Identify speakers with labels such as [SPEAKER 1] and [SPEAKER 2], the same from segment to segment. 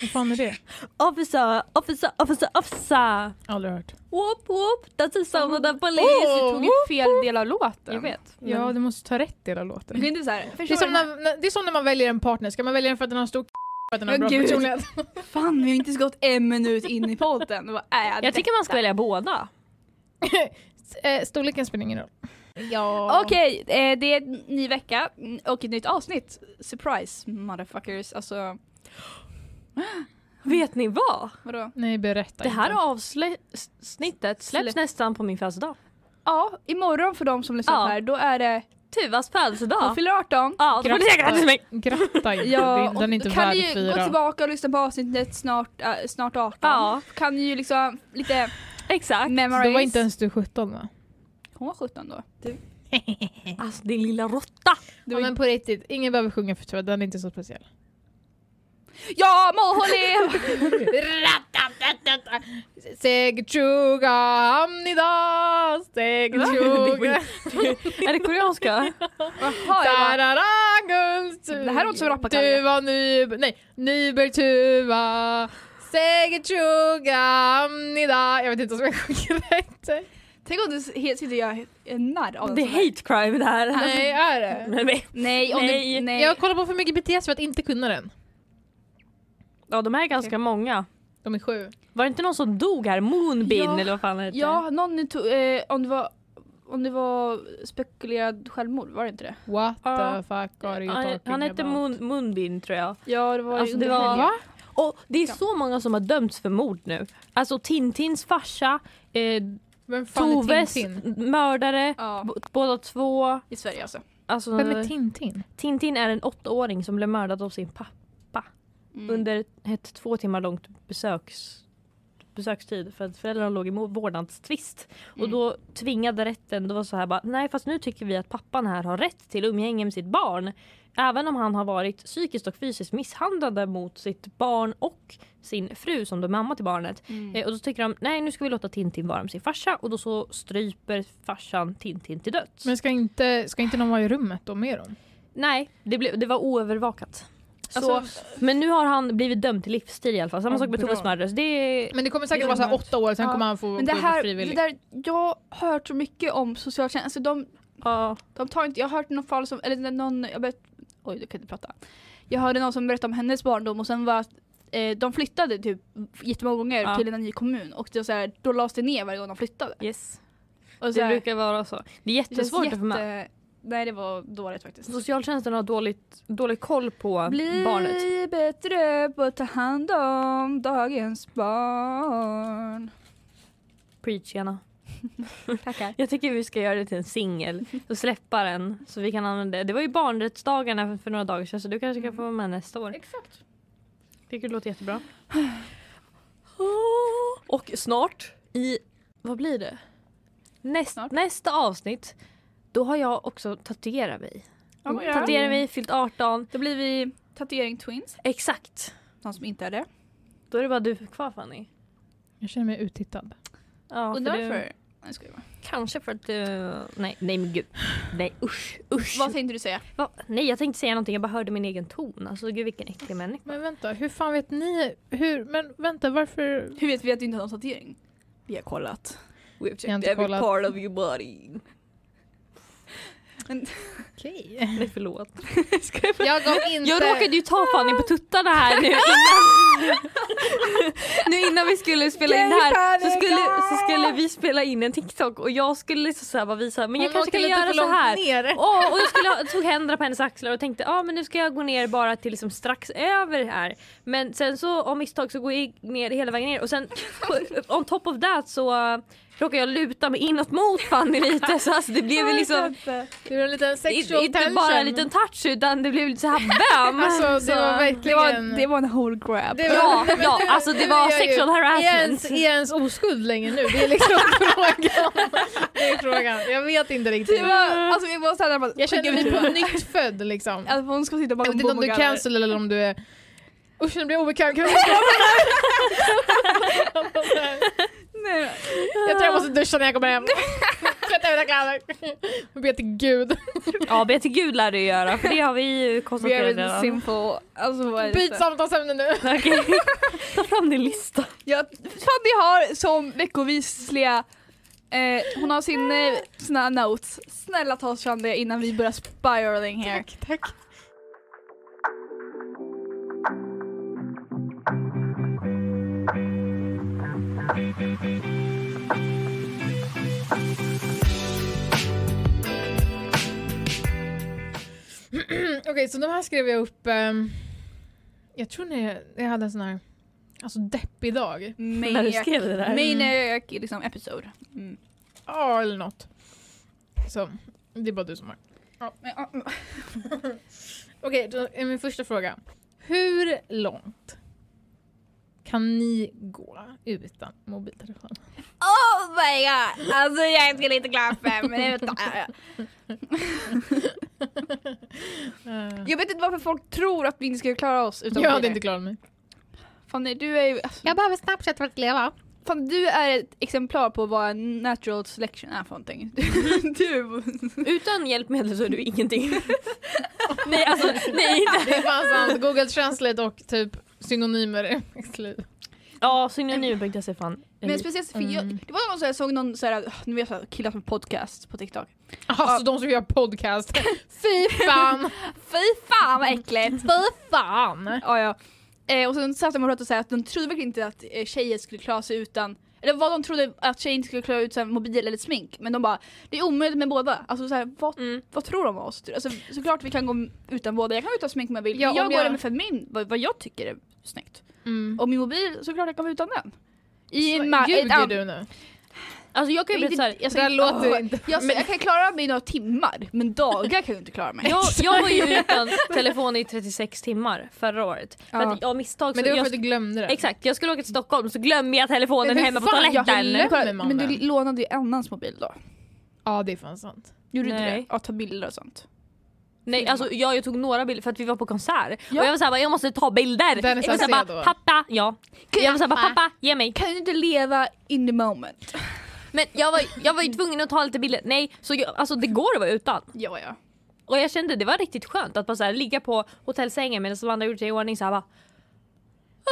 [SPEAKER 1] Vad fan är det?
[SPEAKER 2] Officer, officer, officer, officer!
[SPEAKER 1] Aldrig hört.
[SPEAKER 2] Whoop, whoop! That is some of the
[SPEAKER 3] Louise,
[SPEAKER 2] police!
[SPEAKER 3] du tog ju fel del av låten. Mm.
[SPEAKER 2] Jag vet. men-
[SPEAKER 1] Ja, du måste ta rätt del av låten.
[SPEAKER 3] Du kan inte så här.
[SPEAKER 1] Det är, som när, när- det är som när man väljer en partner. Ska man välja den för att den har stor k- för att den har
[SPEAKER 3] Ja,
[SPEAKER 1] bra
[SPEAKER 3] gud.
[SPEAKER 1] personlighet?
[SPEAKER 3] Fan, vi har inte ens gått en minut in i podden. Vad är
[SPEAKER 2] Jag tycker man ska välja båda.
[SPEAKER 1] Eh, Storleken spelar ingen roll.
[SPEAKER 3] Ja. Okej, eh, det är en ny vecka mm, och ett nytt avsnitt. Surprise motherfuckers. Alltså,
[SPEAKER 2] Vet ni vad?
[SPEAKER 3] vadå?
[SPEAKER 1] Nej, berätta
[SPEAKER 2] Det här
[SPEAKER 1] inte.
[SPEAKER 2] avsnittet släpps
[SPEAKER 3] Släpp.
[SPEAKER 2] nästan på min födelsedag.
[SPEAKER 3] Ja, imorgon för de som lyssnar på
[SPEAKER 2] Ja.
[SPEAKER 3] det här, då är det...
[SPEAKER 2] Tuvas
[SPEAKER 3] Hon
[SPEAKER 2] födelsedag.
[SPEAKER 3] fyller 18.
[SPEAKER 2] Ja, då får ni säga grattis till mig.
[SPEAKER 1] Gratta inte.
[SPEAKER 3] Ja,
[SPEAKER 1] den är inte
[SPEAKER 3] och kan
[SPEAKER 1] värd
[SPEAKER 3] ni ju gå
[SPEAKER 1] fyra.
[SPEAKER 3] tillbaka och lyssna på avsnittet snart, äh, snart 18.
[SPEAKER 2] Ja,
[SPEAKER 3] Kan ni ju liksom lite
[SPEAKER 2] exakt.
[SPEAKER 1] Så
[SPEAKER 3] memorize.
[SPEAKER 1] Då var inte ens du 17 va?
[SPEAKER 3] Hon var 17 då.
[SPEAKER 2] Alltså din lilla råtta.
[SPEAKER 3] Det var...
[SPEAKER 1] Ja, men på riktigt, ingen behöver sjunga för tror jag, den är inte så speciell.
[SPEAKER 3] Ja, må hon leva!
[SPEAKER 1] Segchuga hamnida, segchuga
[SPEAKER 2] Är det koreanska?
[SPEAKER 3] Jaha, jag bara,
[SPEAKER 1] sararagunst.
[SPEAKER 3] Det här låter som rappakalja.
[SPEAKER 1] Tuva Nyberg, nej, Nyberg Tuva. Segchuga hamnida. Jag vet inte om jag sjunger rätt.
[SPEAKER 3] Tänk om du s- helt sitter och gör en narr av
[SPEAKER 2] Det är
[SPEAKER 3] en sån här.
[SPEAKER 2] hate crime det här.
[SPEAKER 1] Nej, är det?
[SPEAKER 2] Nej, nej.
[SPEAKER 3] Nej, om
[SPEAKER 2] Nej.
[SPEAKER 3] Du, nej. Typ.
[SPEAKER 1] Jag kollar på för mycket BTS för att inte kunna den.
[SPEAKER 2] Ja, de här är ganska många.
[SPEAKER 1] De är sju.
[SPEAKER 2] Var det inte någon som dog här? Moonbin
[SPEAKER 3] Ja.
[SPEAKER 2] eller vad fan det heter?
[SPEAKER 3] Ja, någon tog, eh, om det var om det var spekulerad självmord, var det inte det?
[SPEAKER 1] What
[SPEAKER 2] Ja.
[SPEAKER 1] the fuck are you
[SPEAKER 2] Han,
[SPEAKER 1] talking
[SPEAKER 2] han hette
[SPEAKER 1] about?
[SPEAKER 2] Moon, Moonbin tror jag.
[SPEAKER 3] Ja, det var
[SPEAKER 2] Alltså,
[SPEAKER 3] ju
[SPEAKER 2] det
[SPEAKER 3] under
[SPEAKER 2] var-
[SPEAKER 3] helgen.
[SPEAKER 2] Och det är
[SPEAKER 3] Ja.
[SPEAKER 2] så många som har dömts för mord nu. Alltså Tintins farsa, eh,
[SPEAKER 1] Vem fan är
[SPEAKER 2] Toves
[SPEAKER 1] Tintin?
[SPEAKER 2] mördare,
[SPEAKER 3] Ja,
[SPEAKER 2] b- båda två.
[SPEAKER 3] i Sverige alltså.
[SPEAKER 2] Alltså,
[SPEAKER 1] Vem är Tintin?
[SPEAKER 2] Tintin är en åttaåring som blev mördad av sin pappa
[SPEAKER 3] Mm.
[SPEAKER 2] under ett två timmar långt besöks, besökstid för att föräldrarna låg i mo- vårdnadstvist. Och
[SPEAKER 3] Mm.
[SPEAKER 2] då tvingade rätten, det var så här bara, nej fast nu tycker vi att pappan här har rätt till umgänge med sitt barn. Även om han har varit psykiskt och fysiskt misshandlande mot sitt barn och sin fru som då är mamma till barnet.
[SPEAKER 3] Mm.
[SPEAKER 2] Eh, Och då tycker de, nej nu ska vi låta Tintin vara med sin farsa och då så stryper farsan Tintin till döds.
[SPEAKER 1] Men ska inte, ska inte någon vara i rummet då med dem?
[SPEAKER 2] Nej, det, blev, det var oövervakat.
[SPEAKER 3] Alltså,
[SPEAKER 2] Alltså, men nu har han blivit dömd till livstid i alla fall. Samma
[SPEAKER 1] Ja,
[SPEAKER 2] sak med
[SPEAKER 1] bra.
[SPEAKER 2] Toves mördare. så Det är...
[SPEAKER 1] Men det kommer säkert vara så här åtta år, sen
[SPEAKER 3] Ja.
[SPEAKER 1] kommer han få
[SPEAKER 3] men det
[SPEAKER 1] gå
[SPEAKER 3] här, det
[SPEAKER 1] frivilligt.
[SPEAKER 3] där, jag har hört så mycket om socialtjänst, alltså de,
[SPEAKER 2] Ja.
[SPEAKER 3] de tar inte, jag har hört någon fall som, eller någon, jag vet, oj du kan inte prata. Jag hörde någon som berättade om hennes barndom och sen var att eh, de flyttade typ jättemånga gånger
[SPEAKER 2] Ja.
[SPEAKER 3] till en ny kommun och det var så här, då lades det ner varje gång de flyttade.
[SPEAKER 2] Yes.
[SPEAKER 3] Och så
[SPEAKER 2] Det
[SPEAKER 3] här,
[SPEAKER 2] brukar vara så. Det är
[SPEAKER 3] det känns
[SPEAKER 2] jättesvårt att få med.
[SPEAKER 3] jätte- Nej det var dåligt faktiskt.
[SPEAKER 2] Socialtjänsten har dåligt, dålig koll på
[SPEAKER 3] Bli
[SPEAKER 2] barnet.
[SPEAKER 3] bättre på att ta hand om dagens barn.
[SPEAKER 2] Preach gärna.
[SPEAKER 3] Mm. Tackar.
[SPEAKER 2] Jag tycker vi ska göra det till en singel och släppa den så vi kan använda det. Det var ju barnrättsdagarna för, för några dagar sedan så du kanske kan få vara med nästa år.
[SPEAKER 3] Exakt.
[SPEAKER 2] Tycker det låter jättebra. Och snart i, vad blir det? Näst,
[SPEAKER 3] Snart.
[SPEAKER 2] Nästa avsnitt, då har jag också tatuerat mig. Tatuerat mig, fyllt 18.
[SPEAKER 3] Då blir vi tatuering twins.
[SPEAKER 2] Exakt.
[SPEAKER 3] Någon som inte är det.
[SPEAKER 2] Då är det bara du kvar Fanny.
[SPEAKER 1] Jag känner mig uttittad.
[SPEAKER 2] Ja,
[SPEAKER 3] Undrar
[SPEAKER 2] för du-
[SPEAKER 3] varför. Nej, skojar bara.
[SPEAKER 2] Kanske för att du... Nej, nej men gud. Nej usch, usch.
[SPEAKER 3] Vad tänkte du säga?
[SPEAKER 2] Va? Nej jag tänkte säga någonting, jag bara hörde min egen ton. Alltså gud vilken äcklig människa.
[SPEAKER 1] Men vänta, hur fan vet ni? Hur, men vänta, varför?
[SPEAKER 3] Hur vet vi att du inte har någon tatuering? Vi har kollat. We have
[SPEAKER 1] Jag har inte kollat.
[SPEAKER 3] part of your body. Men,
[SPEAKER 1] Okej.
[SPEAKER 2] Nej förlåt.
[SPEAKER 3] ska jag...
[SPEAKER 1] Jag gav inte...
[SPEAKER 2] Jag råkade ju ta Fanny på tuttarna här nu innan, nu innan vi skulle spela in det här så skulle, så skulle vi spela in en TikTok och jag skulle liksom så så här bara visa men jag
[SPEAKER 1] Hon
[SPEAKER 2] kanske
[SPEAKER 1] åker
[SPEAKER 2] kan
[SPEAKER 1] lite
[SPEAKER 2] göra
[SPEAKER 1] för
[SPEAKER 2] så
[SPEAKER 1] långt
[SPEAKER 2] här.
[SPEAKER 1] Ner.
[SPEAKER 2] Åh, och jag skulle, ha- tog händerna på hennes axlar och tänkte ah, men nu ska jag gå ner bara till liksom strax över här. Men sen så av misstag så går jag ner hela vägen ner och sen på- on top of that så eh, uh, råkade jag luta mig inåt mot Fanny lite så alltså, det blev ju liksom
[SPEAKER 1] Det var en liten
[SPEAKER 2] inte bara en liten touch utan det blev lite så här bam!
[SPEAKER 1] Alltså, det var
[SPEAKER 2] Så-
[SPEAKER 1] verkligen...
[SPEAKER 3] Det var, det var en whole grab.
[SPEAKER 1] Det var-
[SPEAKER 2] Ja, ja, alltså det var
[SPEAKER 1] Jag är ju-
[SPEAKER 2] sexual
[SPEAKER 1] Är ens,
[SPEAKER 2] harassment.
[SPEAKER 1] är ens oskuld längre nu? Det är liksom frågan. Det är frågan. Jag vet inte riktigt.
[SPEAKER 3] Det var, alltså vi var såhär bara,
[SPEAKER 1] Jag känner
[SPEAKER 3] "Gud,
[SPEAKER 1] mig
[SPEAKER 3] vi-
[SPEAKER 1] på nytt född liksom.
[SPEAKER 3] Alltså hon ska sitta
[SPEAKER 1] Jag
[SPEAKER 3] bakom
[SPEAKER 1] vet inte om
[SPEAKER 3] bom och
[SPEAKER 1] du är
[SPEAKER 3] garvar.
[SPEAKER 1] cancel eller om du är... Usch nu blir jag obekväm. Kan vi-
[SPEAKER 3] Nej,
[SPEAKER 1] Jag tror jag måste duscha när jag kommer hem. Tvätta mina kläder. Och be till gud.
[SPEAKER 2] Ja, be till gud lär du göra för det har vi ju
[SPEAKER 3] Very
[SPEAKER 2] konstaterat redan.
[SPEAKER 3] simple. Alltså vad är det?
[SPEAKER 1] Byt
[SPEAKER 3] för-
[SPEAKER 1] samtalsämne nu.
[SPEAKER 2] Okej. Ta fram din lista.
[SPEAKER 3] Jag, Fanny har som veckovisliga Eh, hon har sin, eh, sina notes. Snälla ta oss fram det innan vi börjar spiraling här.
[SPEAKER 1] tack. Okej, så de här skrev jag upp. ehm, jag tror när jag, jag hade en sån här alltså deppig dag.
[SPEAKER 2] När du
[SPEAKER 3] Maniac.
[SPEAKER 2] skrev det där.
[SPEAKER 3] Maniac liksom episod. Mm.
[SPEAKER 1] Ja, eller något. Så, det är bara du som har.
[SPEAKER 3] Men, ja,
[SPEAKER 1] Okej, då är min första fråga. Hur långt kan ni gå utan mobiltelefon?
[SPEAKER 3] Oh my god! Alltså jag skulle inte klara fem minuter.
[SPEAKER 1] Eh,
[SPEAKER 3] Jag vet inte varför folk tror att vi inte ska klara oss utan
[SPEAKER 1] jag hade inte klarat mig.
[SPEAKER 3] Fanny, du är ju... Alltså,
[SPEAKER 1] behöver Snapchat för att leva.
[SPEAKER 3] Fan, du är ett exemplar på vad en natural selection är för någonting. du...
[SPEAKER 2] Utan hjälpmedel så är du ingenting. nej, alltså nej.
[SPEAKER 1] Det är fan sant. Google Translate och typ synonymer är mitt liv.
[SPEAKER 2] Ja, synonym.se fan.
[SPEAKER 3] Men speciellt för jag,
[SPEAKER 1] Mm.
[SPEAKER 3] det var någon så här, jag såg någon så här, nu vet jag killar som podcast på TikTok.
[SPEAKER 1] Alltså de som gör podcast. Fy fan!
[SPEAKER 3] Fy fan vad äckligt!
[SPEAKER 1] Fy fan!
[SPEAKER 3] ja, ja. Eh, och sen satt de och pratade så här att de trodde verkligen inte att eh, tjejer skulle klara sig utan eller vad de trodde att tjejer inte skulle klara ut så här, mobil eller smink men de bara det är omöjligt med båda. Alltså så här, vad,
[SPEAKER 2] Mm.
[SPEAKER 3] vad tror de om oss? Alltså, såklart vi kan gå utan båda, jag kan gå utan smink om jag vill.
[SPEAKER 1] Ja,
[SPEAKER 3] men jag
[SPEAKER 1] om
[SPEAKER 3] går
[SPEAKER 1] jag-
[SPEAKER 3] även för min, vad, vad jag tycker är snyggt.
[SPEAKER 1] Mm.
[SPEAKER 3] Och min mobil såklart jag kan vara utan den. I en ma- ett
[SPEAKER 1] Ljuger
[SPEAKER 3] an-
[SPEAKER 1] du nu?
[SPEAKER 2] Alltså jag kan ju
[SPEAKER 3] Jag,
[SPEAKER 2] berätta
[SPEAKER 3] inte,
[SPEAKER 2] såhär.
[SPEAKER 1] Där
[SPEAKER 3] jag, säger,
[SPEAKER 1] låter
[SPEAKER 3] Åh,
[SPEAKER 1] det inte...
[SPEAKER 3] jag, säger, jag kan klara mig i några timmar men dagar kan jag inte klara mig.
[SPEAKER 2] Jag, jag var ju utan telefon i 36 timmar förra året. För
[SPEAKER 3] Ja.
[SPEAKER 2] att jag misstag så
[SPEAKER 1] Men det var
[SPEAKER 2] jag,
[SPEAKER 1] för att du glömde det.
[SPEAKER 2] Exakt, jag skulle åka till Stockholm så glömde jag telefonen
[SPEAKER 1] Men hur
[SPEAKER 2] hemma på
[SPEAKER 1] fan, jag
[SPEAKER 2] toaletten.
[SPEAKER 1] glömmer
[SPEAKER 3] Kolla,
[SPEAKER 1] man
[SPEAKER 3] men du
[SPEAKER 1] den?
[SPEAKER 3] lånade ju annans mobil då.
[SPEAKER 1] Ja det är fan sant.
[SPEAKER 3] Gjorde du inte
[SPEAKER 2] Nej.
[SPEAKER 3] det? Ja, ta bilder och sånt.
[SPEAKER 2] Nej, alltså, jag, jag tog några bilder för att vi var på konsert.
[SPEAKER 3] Ja.
[SPEAKER 2] Och jag var såhär, bara, jag måste ta bilder.
[SPEAKER 1] Den är
[SPEAKER 2] jag
[SPEAKER 1] så
[SPEAKER 2] var såhär,
[SPEAKER 1] sen
[SPEAKER 2] bara,
[SPEAKER 1] då.
[SPEAKER 2] pappa, ja. Jag var såhär, bara, pappa, ge mig.
[SPEAKER 3] Kan du inte leva in the moment?
[SPEAKER 2] Men jag var, jag var ju tvungen att ta lite bilder. Nej, så jag, alltså, det går att vara utan.
[SPEAKER 3] Ja, ja.
[SPEAKER 2] Och jag kände det var riktigt skönt att bara så här, ligga på hotellsängen medan de andra gjorde sig i ordning. Så här, bara,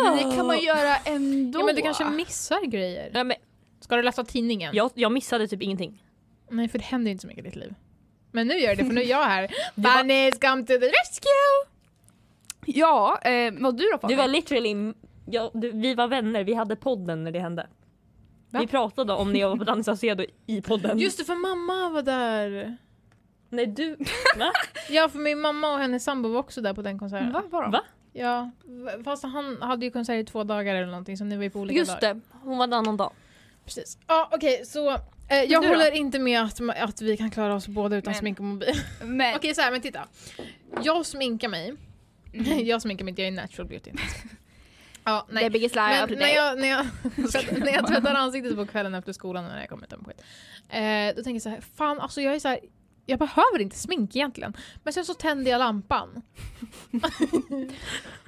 [SPEAKER 3] Men det kan man göra ändå.
[SPEAKER 1] Ja, men du kanske missar grejer.
[SPEAKER 2] ja, men,
[SPEAKER 1] Ska du läsa tidningen?
[SPEAKER 2] jag, jag missade typ ingenting.
[SPEAKER 1] Nej för det händer ju inte så mycket i ditt liv. Men nu gör det för nu är jag här. Bunnies come to the rescue!
[SPEAKER 3] Ja, eh, vad du då Fanny?
[SPEAKER 2] Du var literally, ja, du, vi var vänner, vi hade podden när det hände.
[SPEAKER 1] Va?
[SPEAKER 2] Vi pratade om när jag var på Danny Saucedo i podden.
[SPEAKER 1] Just det för mamma var där.
[SPEAKER 2] när du... Va?
[SPEAKER 1] Ja för min mamma och hennes sambo var också där på den konserten.
[SPEAKER 3] Va, vadå?
[SPEAKER 2] Va?
[SPEAKER 1] Ja, v- fast han hade ju konsert i två dagar eller någonting så ni var ju på olika
[SPEAKER 2] Just
[SPEAKER 1] dagar.
[SPEAKER 2] det, hon var en annan dag.
[SPEAKER 1] Precis. Ja okej så eh, jag
[SPEAKER 3] du då?
[SPEAKER 1] håller inte med att, ma- att vi kan klara oss båda utan
[SPEAKER 3] Men-
[SPEAKER 1] smink och mobil.
[SPEAKER 3] Men,
[SPEAKER 1] okej så här men titta. Jag sminkar mig.
[SPEAKER 3] Mm.
[SPEAKER 1] jag sminkar mig inte, jag är natural beauty. ja, nej.
[SPEAKER 3] the biggest lie
[SPEAKER 1] Men
[SPEAKER 3] of the
[SPEAKER 1] när
[SPEAKER 3] day.
[SPEAKER 1] jag, när, jag, när jag tvättar ansiktet på kvällen efter skolan när jag kommer hem på skit. Eh, då tänker jag så här, fan alltså jag är så här, jag behöver inte smink egentligen. Men sen så tänder jag lampan.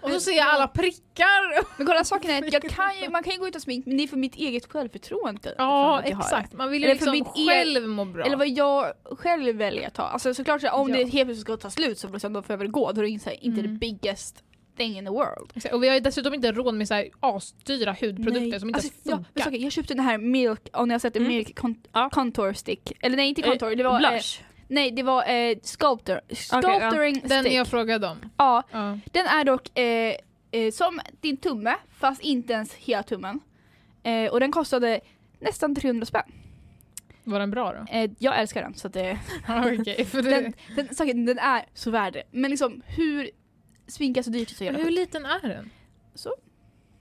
[SPEAKER 1] och så ser jag alla prickar.
[SPEAKER 3] Men kolla saken är att jag kan ju, man kan ju gå utan smink men det är för mitt eget självförtroende.
[SPEAKER 1] Ja
[SPEAKER 3] att jag har det.
[SPEAKER 1] exakt, man vill ju
[SPEAKER 3] Eller för
[SPEAKER 1] liksom
[SPEAKER 3] mitt e-
[SPEAKER 1] själv må bra.
[SPEAKER 3] Eller vad jag själv väljer att ta. Alltså såklart så här, om
[SPEAKER 1] Ja.
[SPEAKER 3] det helt plötsligt ska ta slut så liksom, då får jag väl gå. Då är det inte, så här, inte
[SPEAKER 1] Mm.
[SPEAKER 3] the biggest thing in the world.
[SPEAKER 1] Exakt, Och vi har ju dessutom inte råd med så här asdyra hudprodukter som inte
[SPEAKER 3] alltså,
[SPEAKER 1] funkar.
[SPEAKER 3] jag, jag, saken- jag köpte den här Milk, om ni har sett en
[SPEAKER 2] Mm.
[SPEAKER 3] Milk con-
[SPEAKER 2] Ja.
[SPEAKER 3] contour stick. Eller nej inte
[SPEAKER 2] Eh,
[SPEAKER 3] contour, det var eh,
[SPEAKER 2] Blush.
[SPEAKER 3] Nej, det var eh, sculptor, sculpturing
[SPEAKER 1] Den
[SPEAKER 3] stick.
[SPEAKER 1] jag frågade om.
[SPEAKER 3] Ja,
[SPEAKER 1] Ja.
[SPEAKER 3] den är dock eh, eh, som din tumme fast inte ens hela tummen. Eh, och den kostade nästan 300 spänn.
[SPEAKER 1] Var den bra då?
[SPEAKER 3] Eh, jag älskar den så att det,
[SPEAKER 1] Okej, för det...
[SPEAKER 3] den, den, saken, den är så värd det. Men liksom hur sminka så dyrt så jävla
[SPEAKER 1] Hur liten är den?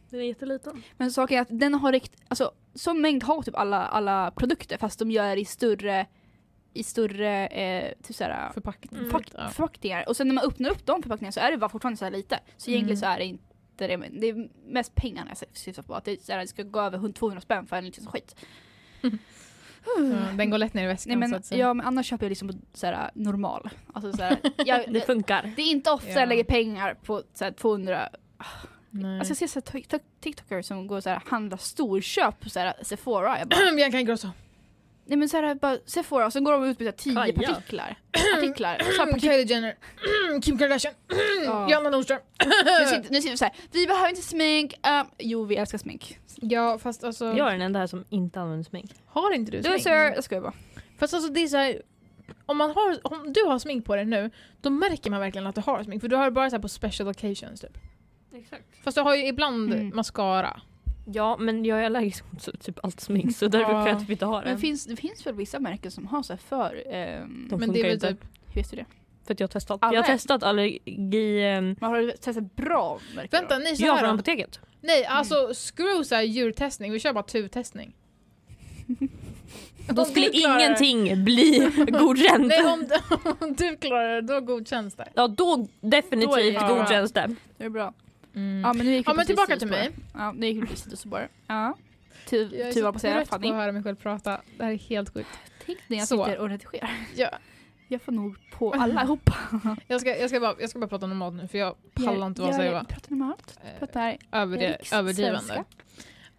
[SPEAKER 2] Den är jätteliten.
[SPEAKER 3] Men saken är att den har rikt, alltså som mängd har typ alla, alla produkter fast de gör i större i större eh, typ såhär,
[SPEAKER 1] Förpackning.
[SPEAKER 2] Mm.
[SPEAKER 3] fack-
[SPEAKER 1] Ja.
[SPEAKER 3] förpackningar. Och sen när man öppnar upp de förpackningarna så är det bara fortfarande så här lite. Så
[SPEAKER 1] Mm.
[SPEAKER 3] egentligen så är det inte det, men det är mest pengarna jag syftar på. Att det, är så här, det ska gå över 100 200 spänn för en liten skit.
[SPEAKER 1] Ja, den går lätt ner i väskan
[SPEAKER 3] Nej,
[SPEAKER 1] så
[SPEAKER 3] men,
[SPEAKER 1] att säga.
[SPEAKER 3] ja, men annars köper jag liksom på så här, normal. Alltså, så här, jag,
[SPEAKER 2] Det Mm. funkar.
[SPEAKER 3] det är inte ofta
[SPEAKER 1] Ja.
[SPEAKER 3] jag lägger pengar på så här, 200
[SPEAKER 1] Nej.
[SPEAKER 3] Alltså jag ser så här, tik- tik- TikTokare som går så här handlar storköp på så här Sephora. Jag bara,
[SPEAKER 1] Bianca Ingrosso.
[SPEAKER 3] nej men så här, bara Sephora och sen går de ut med så här, tio
[SPEAKER 2] Kaja.
[SPEAKER 3] partiklar. Artiklar. Så här, partiklar.
[SPEAKER 1] Kylie Jenner. Kim Kardashian.
[SPEAKER 3] Ja.
[SPEAKER 1] Johanna Nordström.
[SPEAKER 3] Nu sitter, nu sitter vi så här, vi behöver inte smink. Ehm, jo vi älskar smink.
[SPEAKER 1] Ja fast alltså.
[SPEAKER 2] Jag är den enda här som inte använder smink.
[SPEAKER 1] Har inte du
[SPEAKER 3] Du är
[SPEAKER 1] smink?
[SPEAKER 3] så här, jag skojar bara.
[SPEAKER 1] Fast alltså det är så här, om, man har, om du har smink på dig nu, då märker man verkligen att du har smink. För du har det bara så här på special occasions typ.
[SPEAKER 2] Exakt.
[SPEAKER 1] Fast du har ju ibland
[SPEAKER 3] Mm.
[SPEAKER 1] mascara.
[SPEAKER 2] Ja men jag är allergisk mot så- typ allt smink så därför
[SPEAKER 1] Ja.
[SPEAKER 2] kan jag typ inte ha
[SPEAKER 3] Men
[SPEAKER 2] det.
[SPEAKER 3] det finns, det finns väl vissa märken som har så här för, ehm,
[SPEAKER 2] De
[SPEAKER 1] Men det är
[SPEAKER 2] funkar
[SPEAKER 1] väl
[SPEAKER 2] inte.
[SPEAKER 1] typ,
[SPEAKER 3] hur vet du det?
[SPEAKER 2] För att jag har testat.
[SPEAKER 3] Alla
[SPEAKER 2] Jag
[SPEAKER 3] är-
[SPEAKER 2] har testat allergi... ehm,
[SPEAKER 3] Man har testat bra märken.
[SPEAKER 1] vänta nej så
[SPEAKER 2] Ja, från
[SPEAKER 1] här då.
[SPEAKER 2] apoteket.
[SPEAKER 1] Nej alltså screw så här djurtestning, vi kör bara turtestning. Om
[SPEAKER 2] Då
[SPEAKER 1] du
[SPEAKER 2] skulle
[SPEAKER 1] klarar det-
[SPEAKER 2] ingenting bli godkänt.
[SPEAKER 1] Nej om, du- om du klarar det då godkänns det.
[SPEAKER 2] Ja då definitivt
[SPEAKER 3] Ja.
[SPEAKER 2] godkänns det.
[SPEAKER 3] Det är bra.
[SPEAKER 1] Mm.
[SPEAKER 3] Ja men nu gick vi
[SPEAKER 1] Ja, men
[SPEAKER 3] precis
[SPEAKER 1] tillbaka till
[SPEAKER 3] sidospår.
[SPEAKER 1] mig.
[SPEAKER 3] Ja nu gick vi precis till spår. Ja. Tur
[SPEAKER 1] Jag är
[SPEAKER 3] tur var
[SPEAKER 1] så
[SPEAKER 3] på att säga
[SPEAKER 1] trött på
[SPEAKER 3] Fanny.
[SPEAKER 1] att höra mig själv prata, det här är helt sjukt.
[SPEAKER 3] Tänk när jag
[SPEAKER 1] Så.
[SPEAKER 3] sitter och redigerar.
[SPEAKER 1] Jag,
[SPEAKER 3] Jag får nog på allihopa.
[SPEAKER 1] jag, ska, jag, ska bara, jag ska bara prata normalt nu för jag pallar inte vara så
[SPEAKER 3] jag,
[SPEAKER 1] jag,
[SPEAKER 3] jag pratar normalt. Pratar
[SPEAKER 1] överdri-
[SPEAKER 3] Rikssvenska.
[SPEAKER 1] överdrivande.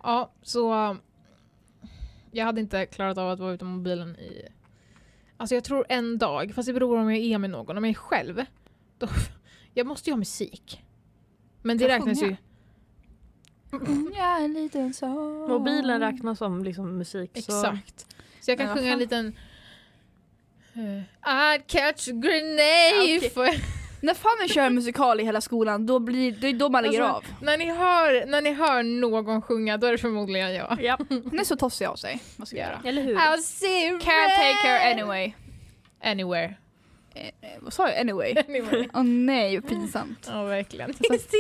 [SPEAKER 1] Ja, så um, jag hade inte klarat av att vara utan mobilen i... Alltså jag tror en dag, fast det beror om jag är med någon. Om jag är själv, då... Jag måste ju ha musik. Men det
[SPEAKER 3] Jag
[SPEAKER 1] räknas ju...
[SPEAKER 3] sjunger. Mm, jag är en liten sån.
[SPEAKER 2] Mobilen räknas som liksom musik. Så.
[SPEAKER 1] Exakt. Så jag kan
[SPEAKER 3] Men vad
[SPEAKER 1] sjunga en
[SPEAKER 3] fan.
[SPEAKER 1] liten... eh, I'd catch a grenade
[SPEAKER 3] Okej.
[SPEAKER 1] for...
[SPEAKER 3] När Fanny kör musikal i hela skolan, då blir, det är då man lägger
[SPEAKER 1] Alltså, När ni, hör, när ni hör någon sjunga då är det förmodligen jag.
[SPEAKER 2] Ja,
[SPEAKER 3] av. Hon är så tossig av sig. Vad ska jag göra?
[SPEAKER 2] eller hur?
[SPEAKER 1] I'll see you
[SPEAKER 3] Can't take her
[SPEAKER 1] red.
[SPEAKER 3] anyway.
[SPEAKER 1] Anywhere.
[SPEAKER 3] Eh, vad sa jag? Anyway?
[SPEAKER 1] Anywhere.
[SPEAKER 3] Åh nej, pinsamt.
[SPEAKER 1] Ja, verkligen.
[SPEAKER 3] Alltså,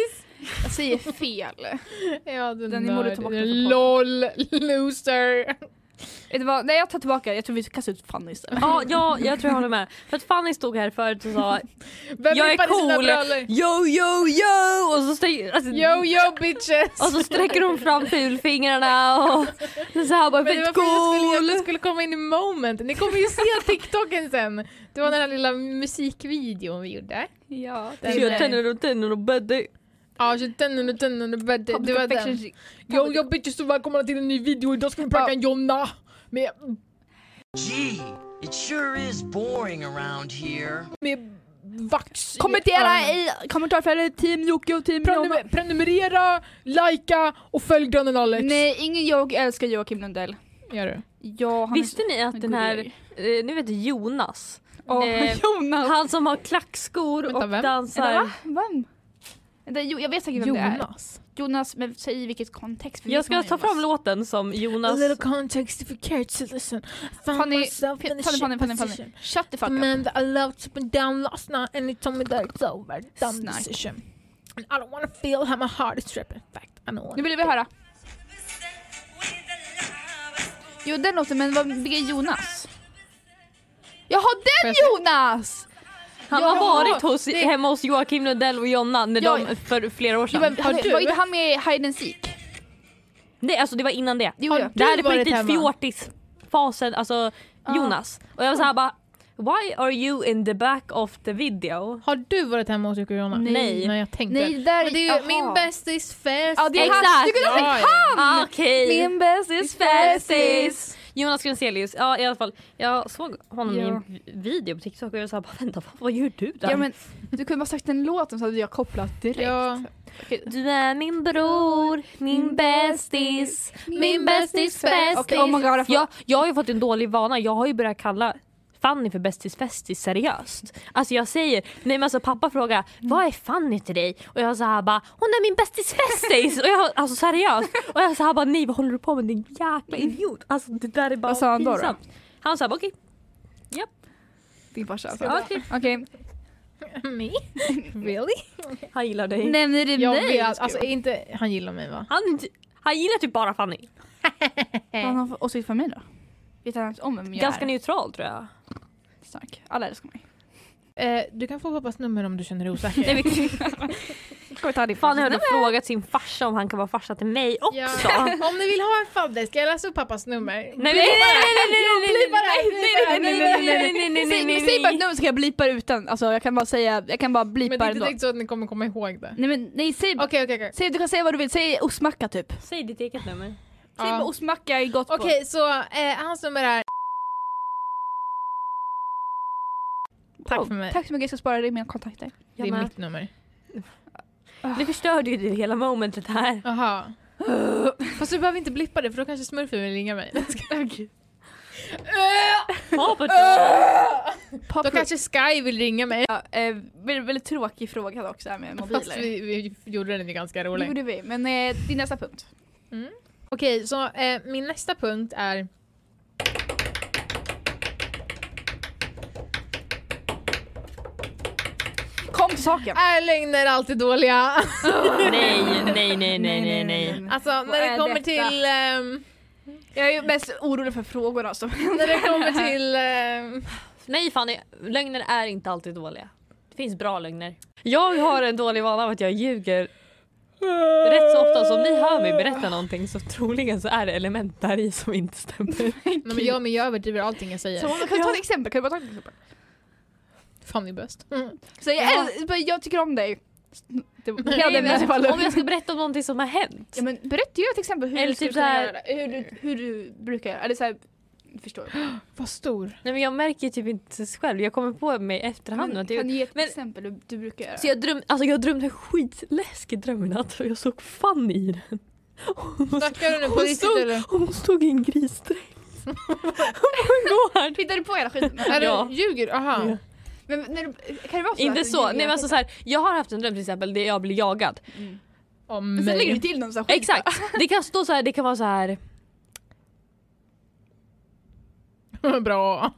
[SPEAKER 3] Jag säger fel.
[SPEAKER 1] Ja, den,
[SPEAKER 3] Den är
[SPEAKER 1] där.
[SPEAKER 3] modig att ta bort den från
[SPEAKER 1] LOL, loser.
[SPEAKER 3] Vet du vad? Nej jag tar tillbaka jag tror vi ska kasta ut Fanny istället.
[SPEAKER 2] Ja, ja, jag tror jag håller med. För att Fanny stod här förut och sa
[SPEAKER 1] Vem
[SPEAKER 2] Jag är
[SPEAKER 1] vippade sina
[SPEAKER 2] cool.
[SPEAKER 1] brallor?
[SPEAKER 2] yo yo yo och så, stäng, alltså,
[SPEAKER 1] Yo yo bitches!
[SPEAKER 2] och så sträcker hon fram fulfingrarna och så här bara
[SPEAKER 1] Men det var
[SPEAKER 2] fett
[SPEAKER 1] för jag skulle,
[SPEAKER 2] cool.
[SPEAKER 1] jag skulle komma in i moment. Ni kommer ju se TikToken sen. Det var den här lilla musikvideon vi gjorde.
[SPEAKER 3] Ja,
[SPEAKER 1] den
[SPEAKER 2] Så Jag tänder och tänder och bäddar.
[SPEAKER 1] Ja, så den och den och det det var den. Yo yo bitches och välkomna till en ny video. Idag ska vi pranka en Jonna. Med,
[SPEAKER 4] Gee, it sure is boring around here.
[SPEAKER 1] med vax. i
[SPEAKER 3] Kommentera
[SPEAKER 1] öronen.
[SPEAKER 3] i kommentarfältet, team Jocke och team Jonna.
[SPEAKER 1] Prenumer- prenumerera, likea och följ grannen Alex.
[SPEAKER 3] Nej, ingen jag älskar Joakim Lundell.
[SPEAKER 1] Gör du?
[SPEAKER 3] Ja, han är
[SPEAKER 2] Visste ni att den här, eh, nu vet Jonas,
[SPEAKER 3] Åh,
[SPEAKER 2] Eh,
[SPEAKER 3] Jonas!
[SPEAKER 2] han som har klackskor
[SPEAKER 1] Vänta,
[SPEAKER 2] och
[SPEAKER 1] vem?
[SPEAKER 3] Vänta,
[SPEAKER 2] dansar.
[SPEAKER 3] va? Vem? Vänta, jo, jag vet säkert vem det är.
[SPEAKER 1] Jonas.
[SPEAKER 3] Jonas, men säg i vilket kontext. för vi
[SPEAKER 2] Jag
[SPEAKER 3] vet
[SPEAKER 2] ska
[SPEAKER 3] vem
[SPEAKER 2] ta
[SPEAKER 3] Jonas.
[SPEAKER 2] fram låten som
[SPEAKER 1] A
[SPEAKER 2] Jonas...
[SPEAKER 1] little context if you care to listen. I found
[SPEAKER 3] Fanny,
[SPEAKER 1] myself in a
[SPEAKER 3] Fanny,
[SPEAKER 1] shit
[SPEAKER 3] Fanny, Fanny, Fanny.
[SPEAKER 1] position.
[SPEAKER 3] Shut the fuck
[SPEAKER 1] The
[SPEAKER 3] up.
[SPEAKER 1] man that I loved took me down last night and he told me that it's over. Dumb
[SPEAKER 3] Snark.
[SPEAKER 1] decision. And I don't wanna feel how my heart is ripped. In fact, I don't
[SPEAKER 3] Nu
[SPEAKER 1] wanna.
[SPEAKER 3] vill vi höra. Jo, den låten, men vad, vilken Jonas? Jaha, den
[SPEAKER 1] jag se?
[SPEAKER 3] Jonas!
[SPEAKER 2] Han
[SPEAKER 3] Ja,
[SPEAKER 2] har varit hos,
[SPEAKER 3] det-
[SPEAKER 2] hemma hos Joakim Lundell och Jonna när
[SPEAKER 3] Ja, ja.
[SPEAKER 2] de, för flera år
[SPEAKER 3] Jo,
[SPEAKER 2] sedan.
[SPEAKER 3] men,
[SPEAKER 1] Har
[SPEAKER 3] han,
[SPEAKER 1] du-
[SPEAKER 3] var inte han med i Hide and Seek?
[SPEAKER 2] Nej alltså det var innan det.
[SPEAKER 3] Jo, ja.
[SPEAKER 2] Det här
[SPEAKER 1] du
[SPEAKER 2] är på
[SPEAKER 1] varit
[SPEAKER 2] riktigt
[SPEAKER 1] hemma?
[SPEAKER 2] fjortisfasen, alltså Jonas. Och jag var såhär bara Why are you in the back of the video?
[SPEAKER 1] Har du varit hemma hos Jocke och Jonna?
[SPEAKER 2] Nej.
[SPEAKER 1] Nej, jag tänkte.
[SPEAKER 3] Nej, det där
[SPEAKER 1] Men det är ju min bästis fest.
[SPEAKER 3] Ja, det är
[SPEAKER 2] Exakt.
[SPEAKER 3] han. Du kunde ha sagt
[SPEAKER 2] Ah, Okej.
[SPEAKER 3] min bästis bästis.
[SPEAKER 2] Jonas Grenzelius, ja i alla fall. Jag såg honom i
[SPEAKER 3] Ja.
[SPEAKER 2] en vi- video på TikTok och jag var såhär bara vänta vad, vad gör du där?
[SPEAKER 3] Ja, men, du kunde bara sagt den låten så hade jag kopplat direkt.
[SPEAKER 1] Ja.
[SPEAKER 2] Du är min bror, min bästis, min bästis bästis.
[SPEAKER 3] Okej, oh my God, jag får-
[SPEAKER 2] jag, jag har ju fått en dålig vana, jag har ju börjat kalla Fanny för bästis festis seriöst. Alltså jag säger, nej men alltså pappa frågar vad är Fanny till dig? Och jag såhär bara hon är min bästis festis! och jag, alltså seriöst. Och jag såhär bara nej vad håller du på med din jäkla idiot? Alltså det där är bara
[SPEAKER 3] Vad sa han då, då?
[SPEAKER 2] pinsamt. Han sa bara okej,
[SPEAKER 3] Din farsa alltså.
[SPEAKER 2] okej,
[SPEAKER 3] Okej.
[SPEAKER 1] Me? Really?
[SPEAKER 2] han gillar dig.
[SPEAKER 3] Nämner du
[SPEAKER 1] Jag
[SPEAKER 3] mig?
[SPEAKER 1] vet, alltså inte, han gillar mig va?
[SPEAKER 2] Han, han gillar typ bara Fanny.
[SPEAKER 3] Vad har han för åsikt för mig då? Vet han ens om vem jag
[SPEAKER 2] Ganska
[SPEAKER 3] är?
[SPEAKER 2] neutral tror jag.
[SPEAKER 3] snark. Alla älskar mig.
[SPEAKER 1] Eh, du kan få pappas nummer om du känner dig osäker.
[SPEAKER 3] Nej, vi- Kommer ta din
[SPEAKER 2] Fan jag hade frågat sin farsa om han kan vara farsa till mig också.
[SPEAKER 1] Ja. Om ni vill ha en fadder, ska jag läsa upp pappas nummer?
[SPEAKER 2] Nej nej nej nej
[SPEAKER 1] Blipa det här, blipa det här,
[SPEAKER 2] nej nej
[SPEAKER 1] blipa det här.
[SPEAKER 2] nej nej nej nej
[SPEAKER 3] Säg,
[SPEAKER 2] nej nej
[SPEAKER 3] säg bara ett
[SPEAKER 2] nej
[SPEAKER 3] nummer så kan jag blipa det utan, alltså jag kan bara säga, jag kan bara
[SPEAKER 1] Men
[SPEAKER 3] blipa
[SPEAKER 1] det är
[SPEAKER 3] ändå.
[SPEAKER 1] inte direkt så att ni kommer komma ihåg det.
[SPEAKER 3] Nej men nej säg,
[SPEAKER 1] Okej, okej, okej.
[SPEAKER 3] säg, du kan säga vad du vill, säg ostmacka typ.
[SPEAKER 2] Säg ditt eget nummer.
[SPEAKER 3] Säg
[SPEAKER 1] Ja.
[SPEAKER 3] bara ostmacka är gott
[SPEAKER 1] Okej, så eh, hans nummer är... Tack för mig.
[SPEAKER 3] Tack så mycket, jag ska spara det i mina kontakter.
[SPEAKER 1] Det är mitt nummer.
[SPEAKER 2] Nu förstörde ju du hela momentet här.
[SPEAKER 1] Jaha. Fast du behöver inte blippa det för då kanske smurfen vill ringa mig.
[SPEAKER 2] Hoppet.
[SPEAKER 1] Då kanske Sky vill ringa mig.
[SPEAKER 3] Ja, eh, väldigt, väldigt tråkig fråga också här med mobiler.
[SPEAKER 1] Fast vi, vi gjorde den ju ganska
[SPEAKER 3] Det
[SPEAKER 1] rolig.
[SPEAKER 3] gjorde vi, men eh, din nästa punkt.
[SPEAKER 1] Okej, så eh, min nästa punkt är...
[SPEAKER 3] Kom till saken.
[SPEAKER 1] Är lögner alltid dåliga?
[SPEAKER 2] Nej nej nej nej nej nej.
[SPEAKER 1] Alltså
[SPEAKER 3] Mm. Vad
[SPEAKER 1] när
[SPEAKER 3] är
[SPEAKER 1] det kommer
[SPEAKER 3] detta?
[SPEAKER 1] till... ehm,
[SPEAKER 3] Jag är ju mest orolig för frågorna som
[SPEAKER 1] när det kommer till... ehm,
[SPEAKER 2] Nej Fanny, lögner är inte alltid dåliga. Det finns bra lögner. Jag har en dålig vana av att jag ljuger rätt så ofta. Så om ni hör mig berätta någonting så troligen så är det element där i som inte stämmer.
[SPEAKER 1] nej, men jag, men jag överdriver allting jag säger.
[SPEAKER 3] Så hon- kan du ta ett exempel? Kan du bara ta ett exempel?
[SPEAKER 1] Fanny är bäst. Mm.
[SPEAKER 3] Så jag,
[SPEAKER 2] Ja.
[SPEAKER 3] äl- bara, jag tycker om dig. Det var
[SPEAKER 1] Nej,
[SPEAKER 3] Ja, det
[SPEAKER 2] Nej,
[SPEAKER 3] är mest bara
[SPEAKER 2] men, om
[SPEAKER 3] lugnt.
[SPEAKER 2] jag ska berätta om någonting som har hänt.
[SPEAKER 3] Ja, men berätta ju till exempel hur
[SPEAKER 2] Eller
[SPEAKER 3] du skulle
[SPEAKER 2] typ
[SPEAKER 3] kunna
[SPEAKER 2] såhär-
[SPEAKER 3] göra det. Hur du, hur du brukar göra. Eller såhär, du förstår.
[SPEAKER 1] Vad stor.
[SPEAKER 2] Nej, men jag märker typ inte själv. Jag kommer på mig i efterhand.
[SPEAKER 3] Men
[SPEAKER 2] att
[SPEAKER 3] kan
[SPEAKER 2] jag,
[SPEAKER 3] du ge ett
[SPEAKER 2] men-
[SPEAKER 3] exempel hur du brukar göra?
[SPEAKER 2] så jag, dröm, alltså, jag drömde en skitläskig dröm i natt och jag såg Fanny i den. Hon,
[SPEAKER 1] Snackar du nu på
[SPEAKER 2] hon,
[SPEAKER 1] riktigt eller?
[SPEAKER 2] stod, hon stod i en grisdräkt. Hon går.
[SPEAKER 3] Hittar du på hela skiten?
[SPEAKER 1] Är
[SPEAKER 2] Ja.
[SPEAKER 1] du, ljuger Aha.
[SPEAKER 2] Ja.
[SPEAKER 3] Men när du, kan det vara så?
[SPEAKER 2] Inte
[SPEAKER 3] att du
[SPEAKER 2] så.
[SPEAKER 3] ljuger
[SPEAKER 2] Nej, men
[SPEAKER 3] hela
[SPEAKER 2] alltså, så här, jag har haft en dröm till exempel där jag blir jagad.
[SPEAKER 3] tiden? Mm.
[SPEAKER 1] Om
[SPEAKER 3] Men sen lägger
[SPEAKER 1] mig.
[SPEAKER 3] du till någon sån här skit.
[SPEAKER 2] Exakt. Det kan stå så här, det kan vara så här.
[SPEAKER 1] Bra.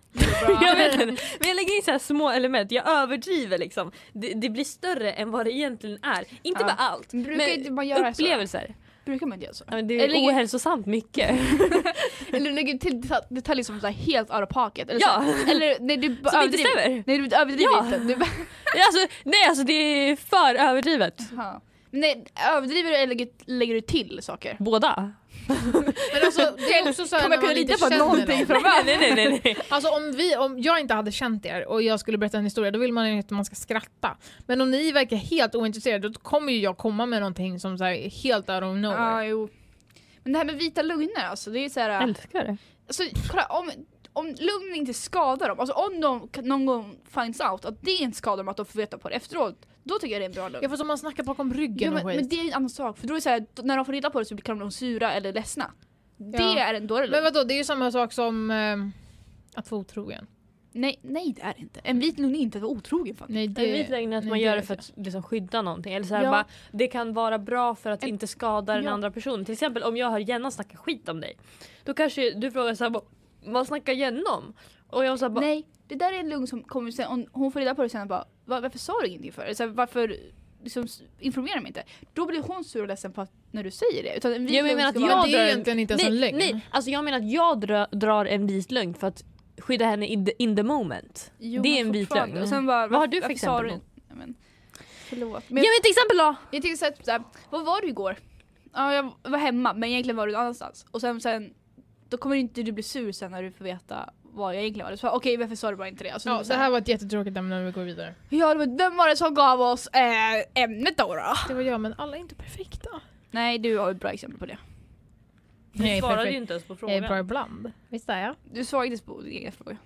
[SPEAKER 2] Jag vet inte. Men jag lägger in så här små element. Jag överdriver liksom. Det, det blir större än vad det egentligen är. Inte
[SPEAKER 3] Ja.
[SPEAKER 2] bara allt.
[SPEAKER 3] Men Brukar
[SPEAKER 2] Men
[SPEAKER 3] inte man göra
[SPEAKER 2] Upplevelser.
[SPEAKER 3] så? Brukar man inte göra så?
[SPEAKER 2] Ja, men det är
[SPEAKER 3] Eller-
[SPEAKER 2] ohälsosamt mycket.
[SPEAKER 3] Eller lägger du till detal- detaljer som så här helt out of pocket? Eller,
[SPEAKER 2] Ja.
[SPEAKER 3] så här, eller nej, du bara
[SPEAKER 2] Som inte
[SPEAKER 3] överdriver.
[SPEAKER 2] stämmer.
[SPEAKER 3] Nej du överdriver
[SPEAKER 2] Ja.
[SPEAKER 3] inte. Du bara,
[SPEAKER 2] Alltså, nej alltså det är för överdrivet.
[SPEAKER 3] Ja. Men nej, överdriver du eller lägger, lägger du till saker?
[SPEAKER 2] Båda.
[SPEAKER 1] Men alltså det är också såhär
[SPEAKER 3] Kommer
[SPEAKER 1] när
[SPEAKER 3] jag kunna
[SPEAKER 1] man inte
[SPEAKER 3] lita på att
[SPEAKER 1] känner
[SPEAKER 3] någonting
[SPEAKER 1] någon.
[SPEAKER 2] Nej nej nej. nej.
[SPEAKER 1] Alltså om, vi, om jag inte hade känt er och jag skulle berätta en historia då vill man ju att man ska skratta. Men om ni verkar helt ointresserade då kommer ju jag komma med någonting som så här, är helt out of nowhere.
[SPEAKER 3] Ja, jo. Men det här med vita lögner alltså, det är ju såhär...
[SPEAKER 2] Älskar det.
[SPEAKER 3] Alltså kolla, om, om lögnen inte skadar dem, alltså om de k- någon gång finds out att det inte skadar dem att de får veta på det efteråt, då tycker jag det är en bra lögn.
[SPEAKER 1] Ja fast om man snackar bakom ryggen
[SPEAKER 3] Ja, men,
[SPEAKER 1] och skit.
[SPEAKER 3] men det är en annan sak, för då är det så här, då- när de får reda på det så kan de bli sura eller ledsna. Det är en dålig
[SPEAKER 1] Men
[SPEAKER 3] lögn.
[SPEAKER 1] vadå, det är ju samma sak som ehm, att vara otrogen.
[SPEAKER 3] Nej, nej det är det inte. En vit lögn är inte att vara otrogen fan.
[SPEAKER 1] Nej,
[SPEAKER 2] Det är vit lögn att
[SPEAKER 1] nej,
[SPEAKER 2] man gör det
[SPEAKER 1] vet
[SPEAKER 2] för
[SPEAKER 1] jag.
[SPEAKER 2] att liksom skydda någonting. Eller så här,
[SPEAKER 3] Ja.
[SPEAKER 2] bara, det kan vara bra för att
[SPEAKER 3] En-
[SPEAKER 2] inte skada den
[SPEAKER 3] Ja.
[SPEAKER 2] andra personen. Till exempel om jag hör Jenna snacka skit om dig. Då kanske du frågar så här, "Vad- vad snackar Jenna om? Och jag säger bara,
[SPEAKER 3] Nej, det där är en lögn som kommer sen, om hon får reda på det sen och bara "Va- varför sa du ingenting för? Eller Så här, varför liksom, s- informerar mig inte? Då blir hon sur och ledsen på att, när du säger det. Utan en vit
[SPEAKER 2] Ja, men
[SPEAKER 3] lögn
[SPEAKER 2] jag menar
[SPEAKER 3] ska
[SPEAKER 2] att
[SPEAKER 3] vara-
[SPEAKER 1] Men
[SPEAKER 2] jag
[SPEAKER 1] det är
[SPEAKER 2] drar
[SPEAKER 1] ju
[SPEAKER 2] en-
[SPEAKER 1] egentligen inte ens
[SPEAKER 2] nej,
[SPEAKER 1] en lögn.
[SPEAKER 2] nej. Alltså jag menar att jag dra, drar en vit lögn för att skydda henne in the, in the moment.
[SPEAKER 3] Jo,
[SPEAKER 2] det är
[SPEAKER 3] men
[SPEAKER 2] en vit
[SPEAKER 3] fortfarande.
[SPEAKER 2] lögn.
[SPEAKER 3] Och sen bara,
[SPEAKER 2] Vad har du för
[SPEAKER 3] varför sa
[SPEAKER 2] exempel
[SPEAKER 3] du- Nej, men, Förlåt.
[SPEAKER 2] Ja
[SPEAKER 3] Men jag,
[SPEAKER 2] men till exempel då!
[SPEAKER 3] jag tycker så här, typ så här, vad var du igår? Ja, jag var hemma men egentligen var du någon annanstans. Och sen, sen då kommer inte du bli sur sen när du får veta vad jag egentligen var. Så bara, Okej, varför sa du bara inte det? Alltså,
[SPEAKER 1] Ja,
[SPEAKER 3] så
[SPEAKER 1] det
[SPEAKER 3] här-
[SPEAKER 1] här var ett jättetråkigt ämne men vi går vidare.
[SPEAKER 3] Ja, det var- vem var det som gav oss eh, ämnet då, då?
[SPEAKER 1] Det var jag men alla är inte perfekta.
[SPEAKER 3] Nej, du har ett bra exempel på det.
[SPEAKER 1] Nej,
[SPEAKER 2] Du svarade ju
[SPEAKER 1] perfekt.
[SPEAKER 2] inte ens på
[SPEAKER 1] Jag är bra
[SPEAKER 2] frågan.
[SPEAKER 1] ibland. Visst är jag?
[SPEAKER 3] Du svarade inte på din egen fråga.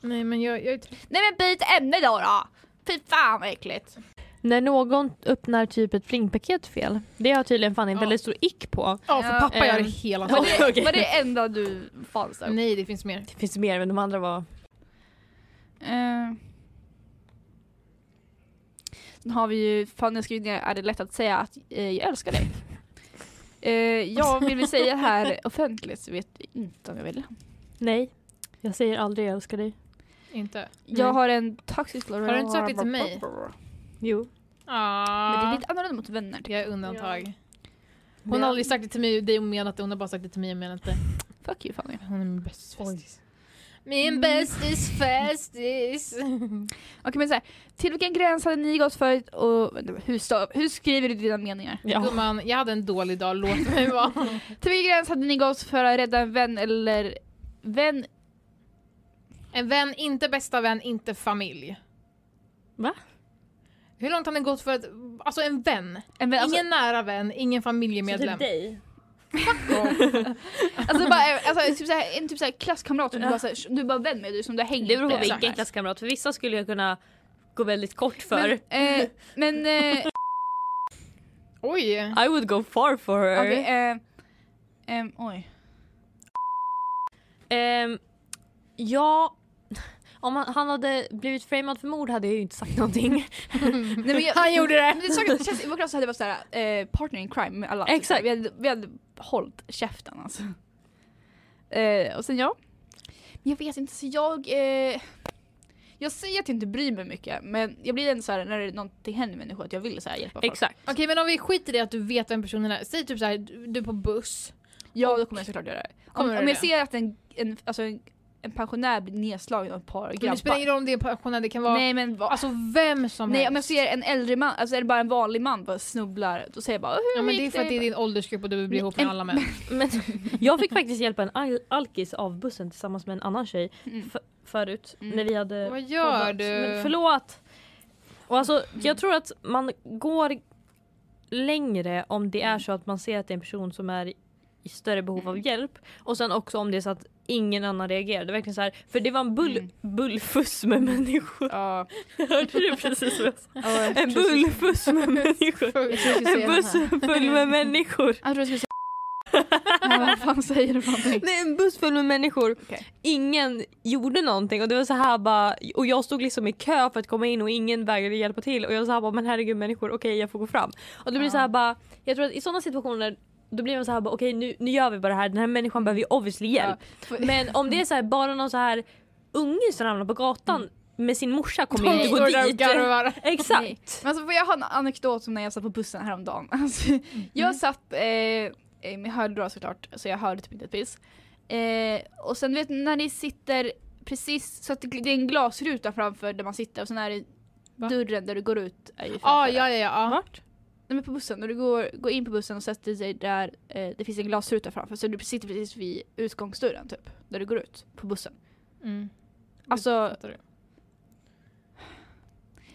[SPEAKER 1] Nej men jag, jag är trött.
[SPEAKER 3] Nej men byt ämne då då! Fy fan vad äckligt.
[SPEAKER 2] När någon öppnar typ ett flingpaket fel. Det har tydligen fan en
[SPEAKER 1] Ja.
[SPEAKER 2] väldigt stor ick på.
[SPEAKER 1] Ja för
[SPEAKER 3] Ja,
[SPEAKER 1] pappa gör det
[SPEAKER 2] ehm,
[SPEAKER 1] hela
[SPEAKER 2] ja.
[SPEAKER 1] tiden.
[SPEAKER 3] Var det,
[SPEAKER 2] Okej.
[SPEAKER 3] var det enda du fanns där?
[SPEAKER 1] Nej det finns mer.
[SPEAKER 2] Det finns mer men de andra var...
[SPEAKER 3] Eh. Nu har vi ju, fan jag skrivit ner, är det lätt att säga att eh, jag älskar dig? Eh, jag vill vi säga här offentligt så vet vi inte om jag vill.
[SPEAKER 2] Nej. Jag säger aldrig jag älskar dig.
[SPEAKER 1] Inte.
[SPEAKER 3] Jag
[SPEAKER 2] Nej.
[SPEAKER 3] har en toxic
[SPEAKER 1] Har du inte sagt det till mig?
[SPEAKER 2] Jo.
[SPEAKER 3] Men det är
[SPEAKER 1] Ah.
[SPEAKER 3] lite annorlunda mot vänner. tycker
[SPEAKER 1] Jag är undantag. Hon
[SPEAKER 2] Men-
[SPEAKER 1] har aldrig sagt det till mig och dig och menat det. Hon har bara sagt det till mig och menat det.
[SPEAKER 3] jag. Fuck you Fanny.
[SPEAKER 1] Hon är min bästa
[SPEAKER 2] Oj.
[SPEAKER 1] bästis. Min bästis festis.
[SPEAKER 3] Okej men såhär, till vilken gräns hade ni gått förut och vänta, hur, stav, hur skriver du dina meningar?
[SPEAKER 2] Ja.
[SPEAKER 1] Gumman, jag hade en dålig dag, låt mig vara.
[SPEAKER 3] Till vilken gräns hade ni gått för att rädda en vän eller vän?
[SPEAKER 1] En vän, inte bästa vän, inte familj.
[SPEAKER 2] Va?
[SPEAKER 1] Hur långt har ni gått för att, alltså en vän?
[SPEAKER 3] En vän
[SPEAKER 1] ingen nära vän, ingen
[SPEAKER 2] Så
[SPEAKER 1] familjemedlem.
[SPEAKER 2] typ dig.
[SPEAKER 3] alltså, alltså, bara, alltså typ såhär, en typ såhär klasskamrat som du bara, såhär, du är bara vän med, du, som du hänger
[SPEAKER 2] Det beror på
[SPEAKER 1] Exakt.
[SPEAKER 2] vilken klasskamrat. För vissa skulle jag kunna gå väldigt kort för.
[SPEAKER 3] Men, eh, men eh,
[SPEAKER 1] Oj!
[SPEAKER 2] I would go far for her.
[SPEAKER 3] okej, eh, ehm, oj.
[SPEAKER 2] Ehm, ja, om han, han hade blivit framad för mord hade jag ju inte sagt någonting.
[SPEAKER 3] Nej, men jag,
[SPEAKER 1] Han gjorde det!
[SPEAKER 3] Men det såg, det känns, I vår klass hade det varit såhär, eh, partner in crime med alla. Typ
[SPEAKER 2] Exakt.
[SPEAKER 3] Vi hade, vi hade hållit käften alltså. Eh, och sen jag. Men jag vet inte, så jag... Eh, jag säger att jag inte bryr mig mycket men jag blir ändå såhär när det, någonting händer med människor att jag vill såhär hjälpa folk.
[SPEAKER 2] Exakt.
[SPEAKER 1] Okej men om vi skiter i att du vet vem personen är, säg typ såhär, du du är på buss.
[SPEAKER 3] Ja då kommer jag såklart göra det. Om,
[SPEAKER 1] Kommer du
[SPEAKER 3] om jag
[SPEAKER 1] det?
[SPEAKER 3] ser att en, en, alltså en, en pensionär blir nedslagen av ett par
[SPEAKER 1] Men
[SPEAKER 3] grabbar.
[SPEAKER 1] det spelar ingen roll om det är en pensionär, det kan vara
[SPEAKER 3] Nej men vad?
[SPEAKER 1] alltså vem som
[SPEAKER 3] Nej
[SPEAKER 1] helst.
[SPEAKER 3] om jag ser en äldre man, alltså är det bara en vanlig man bara snubblar då säger jag bara hur
[SPEAKER 1] ja, men det är
[SPEAKER 3] gick
[SPEAKER 1] för att det är din åldersgrupp och du vill bli
[SPEAKER 3] Nej,
[SPEAKER 1] ihop med
[SPEAKER 3] en-
[SPEAKER 1] alla män.
[SPEAKER 2] Men jag fick faktiskt hjälpa en al- alkis av bussen tillsammans med en annan tjej
[SPEAKER 3] Mm.
[SPEAKER 2] f- förut
[SPEAKER 3] Mm.
[SPEAKER 2] när vi hade
[SPEAKER 1] Vad gör
[SPEAKER 2] poddat.
[SPEAKER 1] du?
[SPEAKER 2] Men förlåt! Och alltså, jag tror att man går längre om det är så att man ser att det är en person som är i större behov av hjälp. Och sen också om det är så att ingen annan reagerar. Det är verkligen så här, för det var en bull,
[SPEAKER 3] Mm.
[SPEAKER 2] bullfuss med människor.
[SPEAKER 3] Ja,
[SPEAKER 2] Hörde du precis vad jag sa?
[SPEAKER 3] ja, jag
[SPEAKER 2] En
[SPEAKER 3] tror jag skulle-
[SPEAKER 2] bullfuss med människor.
[SPEAKER 3] jag tror jag skulle säga
[SPEAKER 2] En
[SPEAKER 3] den
[SPEAKER 2] buss
[SPEAKER 3] här.
[SPEAKER 2] full med människor.
[SPEAKER 3] Jag tror jag skulle säga... Vad fan säger du för någonting?
[SPEAKER 2] Nej, en buss full med människor.
[SPEAKER 3] Okej.
[SPEAKER 2] Ingen gjorde någonting och det var så här bara och jag stod liksom i kö för att komma in och ingen vägrade hjälpa till och jag var så här bara men herregud människor okej jag får gå fram. Och det blir så här bara jag tror att i sådana situationer då blir man så här bara okej nu, nu gör vi bara det här den här människan behöver ju obviously hjälp. Men om det är så här bara någon så här unge som ramlar på gatan
[SPEAKER 3] Mm.
[SPEAKER 2] med sin morsa kommer ju
[SPEAKER 1] De
[SPEAKER 2] inte gå
[SPEAKER 1] står där och
[SPEAKER 2] dit.
[SPEAKER 1] garvar.
[SPEAKER 3] Nej.
[SPEAKER 2] Exakt.
[SPEAKER 3] Men alltså, får jag ha en anekdot som när jag satt på bussen häromdagen? Alltså, Jag satt eh, eh, med hörlurar såklart, så jag hörde typ inte ett piss. Eh, och sen vet ni när ni sitter precis, så att det det är en glasruta framför där man sitter och sen är det
[SPEAKER 1] Va?
[SPEAKER 3] dörren där du går ut. Är ju
[SPEAKER 1] Ah,
[SPEAKER 3] framför dig.
[SPEAKER 1] ja, ja, ja. ja.
[SPEAKER 2] Vart?
[SPEAKER 3] Nej, men på bussen, när du går, går in på bussen och sätter dig där eh, det finns en glasruta framför så du sitter precis vid utgångsdörren typ, där du går ut på bussen.
[SPEAKER 1] Mm.
[SPEAKER 3] Alltså,
[SPEAKER 1] Fattar du?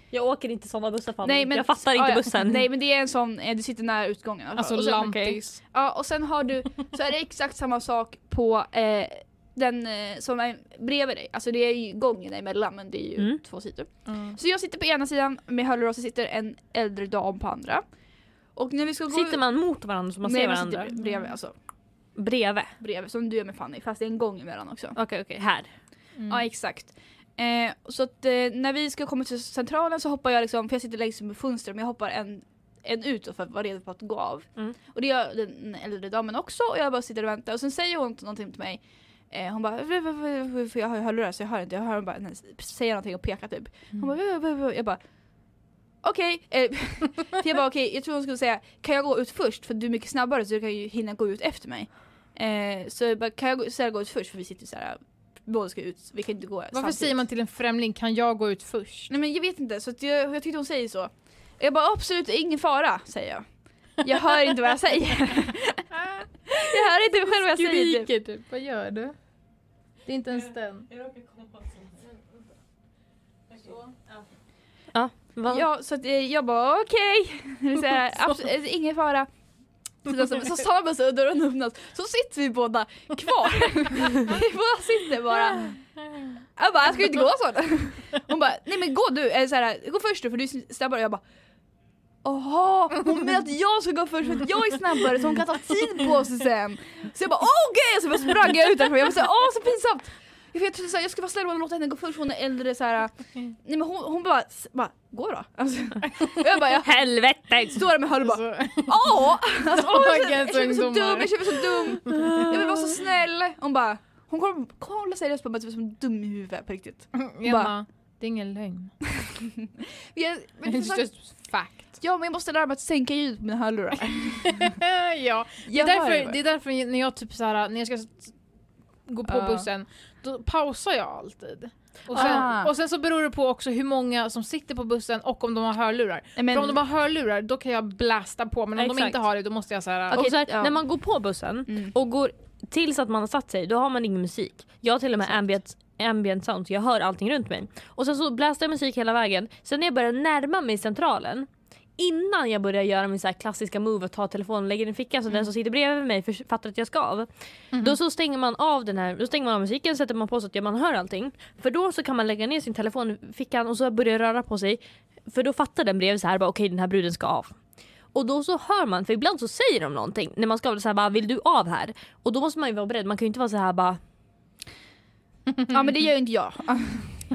[SPEAKER 2] Jag åker inte sådana bussar fan.
[SPEAKER 3] Nej, men-
[SPEAKER 2] jag fattar inte
[SPEAKER 3] ja, ja.
[SPEAKER 2] bussen.
[SPEAKER 3] Nej men det är en sån, eh, du sitter nära utgången i alla
[SPEAKER 1] Alltså
[SPEAKER 3] fall. Och sen-
[SPEAKER 1] lampis.
[SPEAKER 3] Ja och sen har du, så är det exakt samma sak på eh, den eh, som är bredvid dig. Alltså det är ju gången emellan men det är ju
[SPEAKER 2] Mm.
[SPEAKER 3] två sidor.
[SPEAKER 1] Mm.
[SPEAKER 3] Så jag sitter på ena sidan med hörlurar och så sitter en äldre dam på andra. Och när vi ska gå
[SPEAKER 2] Sitter man mot varandra så man
[SPEAKER 3] Nej,
[SPEAKER 2] ser
[SPEAKER 3] man
[SPEAKER 2] varandra?
[SPEAKER 3] sitter bredvid, alltså
[SPEAKER 2] Bredvid?
[SPEAKER 3] bredvid som du gör med Fanny fast det är en gång emellan också.
[SPEAKER 2] Okej okej, här.
[SPEAKER 1] Mm.
[SPEAKER 3] Ja exakt. Eh, så att eh, när vi ska komma till centralen så hoppar jag liksom, för jag sitter längst med fönstret men jag hoppar en, en ut då för att vara redo på att gå av.
[SPEAKER 2] Mm.
[SPEAKER 3] Och det gör den äldre damen också och jag bara sitter och väntar och sen säger hon någonting till mig. Eh, hon bara "Vuh, vuh, vuh, vuh", för jag har ju hörlurar så jag hör inte, jag hör hon bara säga någonting och peka typ. Hon bara "Vuh, vuh, vuh", jag bara Okej, eh, för jag bara okej, jag tror hon skulle säga kan jag gå ut först för du är mycket snabbare så du kan ju hinna gå ut efter mig. Eh, så jag bara, kan jag gå, så här, gå ut först för vi sitter så här, båda ska ut, vi kan inte gå
[SPEAKER 1] Varför säger man till en främling, kan jag gå ut först?
[SPEAKER 3] Nej men jag vet inte, så att jag, jag tyckte hon säger så. Jag bara absolut ingen fara, säger jag. Jag hör inte vad jag säger. jag hör inte själv vad jag säger. Typ.
[SPEAKER 1] Skriker typ, vad gör du? Det är inte ens den.
[SPEAKER 2] Va?
[SPEAKER 3] Ja, så att eh, jag bara okej. Så här, "Abs- eh, ingen fara. Så, då- så, så stannar bussen och dörren öppnas, så sitter vi båda kvar. vi båda sitter bara. Jag bara, jag ska ju inte gå så. Hon bara, nej men gå du, eller så här, gå först du för du är snabbare. Jag bara, Jaha, hon menar att jag ska gå först för att jag är snabbare så hon kan ta tid på sig sen. Så jag bara okej, så bara sprang jag ut därifrån. Jag var såhär åh så pinsamt. Jag, vet, jag, trodde så här, jag skulle vara snäll och låta henne gå först, hon är äldre så här. Nej men hon, hon bara, s- bara gå då. Alltså, och jag bara, jag
[SPEAKER 2] Helvete!
[SPEAKER 3] står där med hörlurar och bara
[SPEAKER 1] Alltså,
[SPEAKER 3] åh! Alltså, åh jag, känner, jag känner mig så
[SPEAKER 1] Dagens ungdomar.
[SPEAKER 3] dum, jag känner mig så dum. Jag vill vara så snäll. Hon bara, hon kollar- kollar seriöst på mig som är dum i huvudet på riktigt.
[SPEAKER 1] Emma, det är ingen lögn.
[SPEAKER 3] Men jag, men det är
[SPEAKER 1] It's
[SPEAKER 3] så-
[SPEAKER 1] just fact.
[SPEAKER 3] ja men jag måste lära mig att sänka ljudet på mina hörlurar.
[SPEAKER 1] Eh, ja, det är,
[SPEAKER 3] Jag hör ju
[SPEAKER 1] därför,
[SPEAKER 3] bara.
[SPEAKER 1] det är därför när jag typ så här, när jag ska s- gå på
[SPEAKER 3] Ja.
[SPEAKER 1] bussen, då pausar jag alltid. Och sen,
[SPEAKER 3] Ah.
[SPEAKER 1] och sen så beror det på också hur många som sitter på bussen och om de har hörlurar.
[SPEAKER 3] Nej, men-
[SPEAKER 1] För om de har hörlurar då kan jag blasta på men om de
[SPEAKER 2] Exakt.
[SPEAKER 1] inte har det då måste jag säga
[SPEAKER 2] Okej,
[SPEAKER 3] Och-
[SPEAKER 2] så här,
[SPEAKER 3] ja.
[SPEAKER 2] När man går på bussen
[SPEAKER 3] Mm.
[SPEAKER 2] och går tills att man har satt sig, då har man ingen musik. Jag har till och med ambient, ambient sound, så jag hör allting runt mig. Och sen så blästar jag musik hela vägen. Sen när jag börjar närma mig centralen, innan jag börjar göra min så här klassiska move och ta telefonen och lägga den i fickan så
[SPEAKER 3] Mm.
[SPEAKER 2] den som sitter bredvid mig förs- fattar att jag ska av.
[SPEAKER 3] Mm-hmm.
[SPEAKER 2] Då så stänger man av den här, då stänger man av musiken, sätter man på så att man hör allting. För då så kan man lägga ner sin telefon i fickan och så börja röra på sig. För då fattar den bredvid så här, bara, okej den här bruden ska av. Och då så hör man, för ibland så säger de någonting när man ska av, så här bara vill du av här? Och då måste man ju vara beredd, man kan ju inte vara så här bara
[SPEAKER 3] Ja men det gör ju inte jag.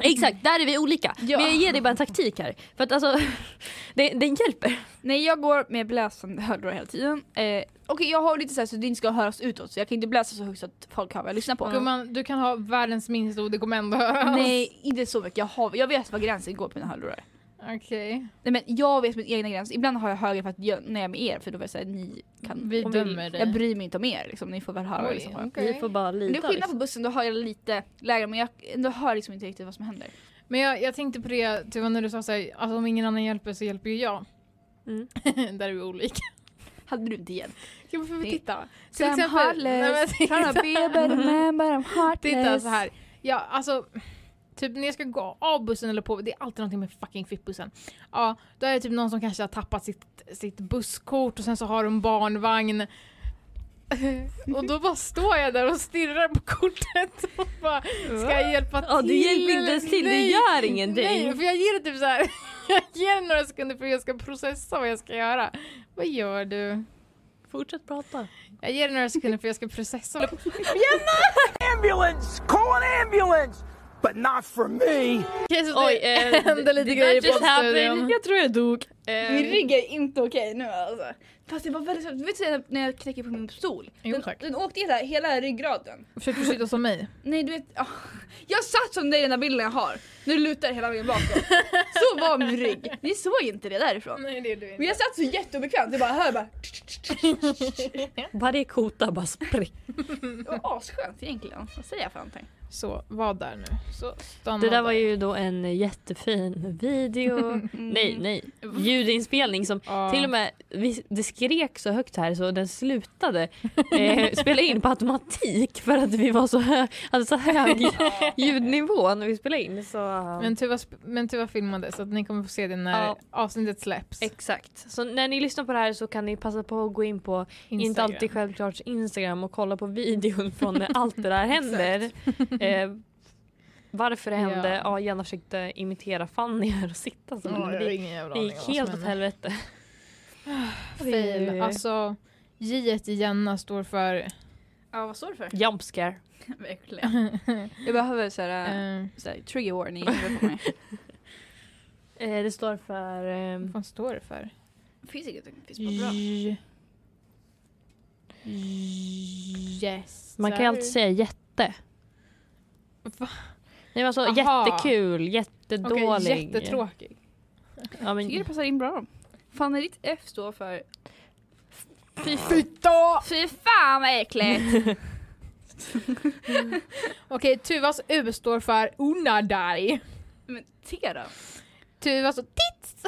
[SPEAKER 2] exakt där är vi olika.
[SPEAKER 3] Ja.
[SPEAKER 2] Men jag ger dig bara en taktik här. För att alltså, det, den hjälper.
[SPEAKER 3] Nej jag går med bläsande hörlurar hela tiden. Eh, Okej jag har lite såhär så det inte ska höras utåt så jag kan inte bläsa så högt så att folk hör vad jag lyssnar på.
[SPEAKER 1] Gumman, du kan ha världens minsta och det kommer ändå höras.
[SPEAKER 3] Nej inte så mycket, jag, har, jag vet var gränsen går på mina hörlurar.
[SPEAKER 1] Okej,
[SPEAKER 3] Nej men jag vet min egna gräns, ibland har jag högre för att jag, när jag är med er för då vill jag säga ni kan...
[SPEAKER 1] vi
[SPEAKER 2] Om vi-
[SPEAKER 1] dömer dig.
[SPEAKER 3] Jag bryr mig inte om er liksom, ni får väl höra vad jag
[SPEAKER 1] Oj,
[SPEAKER 3] lyssnar på.
[SPEAKER 1] okej.
[SPEAKER 2] Vi får bara
[SPEAKER 3] Men Det är
[SPEAKER 2] lita.
[SPEAKER 3] skillnad på
[SPEAKER 2] Liksom.
[SPEAKER 3] bussen, då har jag lite lägre men jag ändå hör liksom inte riktigt vad som händer.
[SPEAKER 1] Men jag, jag tänkte på det Tuva när du sa såhär, alltså om ingen annan hjälper så hjälper ju jag.
[SPEAKER 2] Mm.
[SPEAKER 1] Där är vi olika.
[SPEAKER 3] Hade du inte hjälpt?
[SPEAKER 1] Jo, får vi
[SPEAKER 3] Det-
[SPEAKER 1] titta?
[SPEAKER 3] Till Sam
[SPEAKER 1] exempel- Nej, men titta.
[SPEAKER 3] Heartless, trying to be a better man but I'm heartless.
[SPEAKER 1] Titta så här. Ja, alltså, typ när jag ska gå av bussen eller på, det är alltid någonting med fucking fippbussen. Ja, då är det typ någon som kanske har tappat sitt, sitt busskort och sen så har de barnvagn. och då bara står jag där och stirrar på kortet och bara, ska jag hjälpa
[SPEAKER 2] Ja,
[SPEAKER 1] till?
[SPEAKER 2] du hjälper inte ens
[SPEAKER 1] eller
[SPEAKER 2] till, det
[SPEAKER 1] nej?
[SPEAKER 2] gör ingenting.
[SPEAKER 1] Nej, för jag ger det typ så här. jag ger det några sekunder för jag ska processa vad jag ska göra. Vad gör du?
[SPEAKER 2] Fortsätt prata.
[SPEAKER 1] Jag ger det några sekunder för jag ska processa.
[SPEAKER 5] ambulance! Call an ambulance! But not for me!
[SPEAKER 1] Okej, så
[SPEAKER 2] Oj,
[SPEAKER 1] det
[SPEAKER 2] eh,
[SPEAKER 1] hände lite grejer i poddstudion.
[SPEAKER 2] Jag tror jag dog.
[SPEAKER 3] Min
[SPEAKER 1] Eh.
[SPEAKER 3] rygg är inte okej nu alltså. Fast det var väldigt svårt, du vet såhär när jag knäcker på min stol?
[SPEAKER 1] Jo,
[SPEAKER 3] den,
[SPEAKER 1] tack.
[SPEAKER 3] den åkte hela, hela ryggraden.
[SPEAKER 1] Försökte du sitta som mig?
[SPEAKER 3] Nej du vet, ah. jag satt som dig i den där bilden jag har. Nu lutar hela vägen bakåt. så var min rygg. Ni såg inte det därifrån.
[SPEAKER 1] Nej det gjorde vi
[SPEAKER 3] Men jag satt så jätteobekvämt, jag bara hör bara.
[SPEAKER 2] Varje kota bara spricker.
[SPEAKER 3] Det var asskönt egentligen. Vad säger jag för någonting?
[SPEAKER 1] Så var där nu. Så stanna
[SPEAKER 2] Det där var
[SPEAKER 1] där.
[SPEAKER 2] ju då en jättefin video. Nej, nej. Ljudinspelning som
[SPEAKER 1] Ja.
[SPEAKER 2] till och med, vi, det skrek så högt här så den slutade eh, spela in på automatik för att vi var så, hö, hade så hög ljudnivå när vi spelade in. Så, eh,
[SPEAKER 1] Men Tuva, sp- men Tuva filmade så att ni kommer få se det när
[SPEAKER 2] Ja. Eh,
[SPEAKER 1] avsnittet släpps.
[SPEAKER 2] Exakt. Så när ni lyssnar på det här så kan ni passa på att gå in på Inte
[SPEAKER 1] Instagram.
[SPEAKER 2] alltid självklart Instagram och kolla på videon från när allt det där händer. eh, varför det hände?
[SPEAKER 1] Ja.
[SPEAKER 2] Ja. Jenna försökte imitera Fanny här och sitta så.
[SPEAKER 1] Ja, jag
[SPEAKER 2] men
[SPEAKER 1] har
[SPEAKER 2] det,
[SPEAKER 1] ingen jävla
[SPEAKER 2] det
[SPEAKER 1] aning
[SPEAKER 2] gick
[SPEAKER 1] om vad
[SPEAKER 2] helt
[SPEAKER 1] som
[SPEAKER 2] åt
[SPEAKER 1] hände. Ah,
[SPEAKER 2] helvete.
[SPEAKER 1] Fail. Alltså J i Jenna står för...
[SPEAKER 3] Ja vad står det för?
[SPEAKER 2] Jump scare.
[SPEAKER 3] Verkligen. Jag behöver såhär,
[SPEAKER 1] eh,
[SPEAKER 3] såhär trigger warning på mig.
[SPEAKER 2] Eh, det står för... Eh,
[SPEAKER 1] vad fan står det för?
[SPEAKER 3] Finns ingenting, finns bara bra.
[SPEAKER 1] J... Yes.
[SPEAKER 2] man kan ju alltid säga jätte.
[SPEAKER 1] Va?
[SPEAKER 2] Nej men alltså
[SPEAKER 1] Aha.
[SPEAKER 2] jättekul,
[SPEAKER 1] Okej,
[SPEAKER 2] jättedålig.
[SPEAKER 1] jättetråkig.
[SPEAKER 2] Ja,
[SPEAKER 3] Jag tycker det
[SPEAKER 2] men,
[SPEAKER 3] passar in bra. Fanny ditt F står för
[SPEAKER 2] fy,
[SPEAKER 1] Byta!
[SPEAKER 3] Fy fan vad äckligt!
[SPEAKER 1] Okej, Tuvas U står för Unadai.
[SPEAKER 3] Men te då?
[SPEAKER 1] Tuvas tits!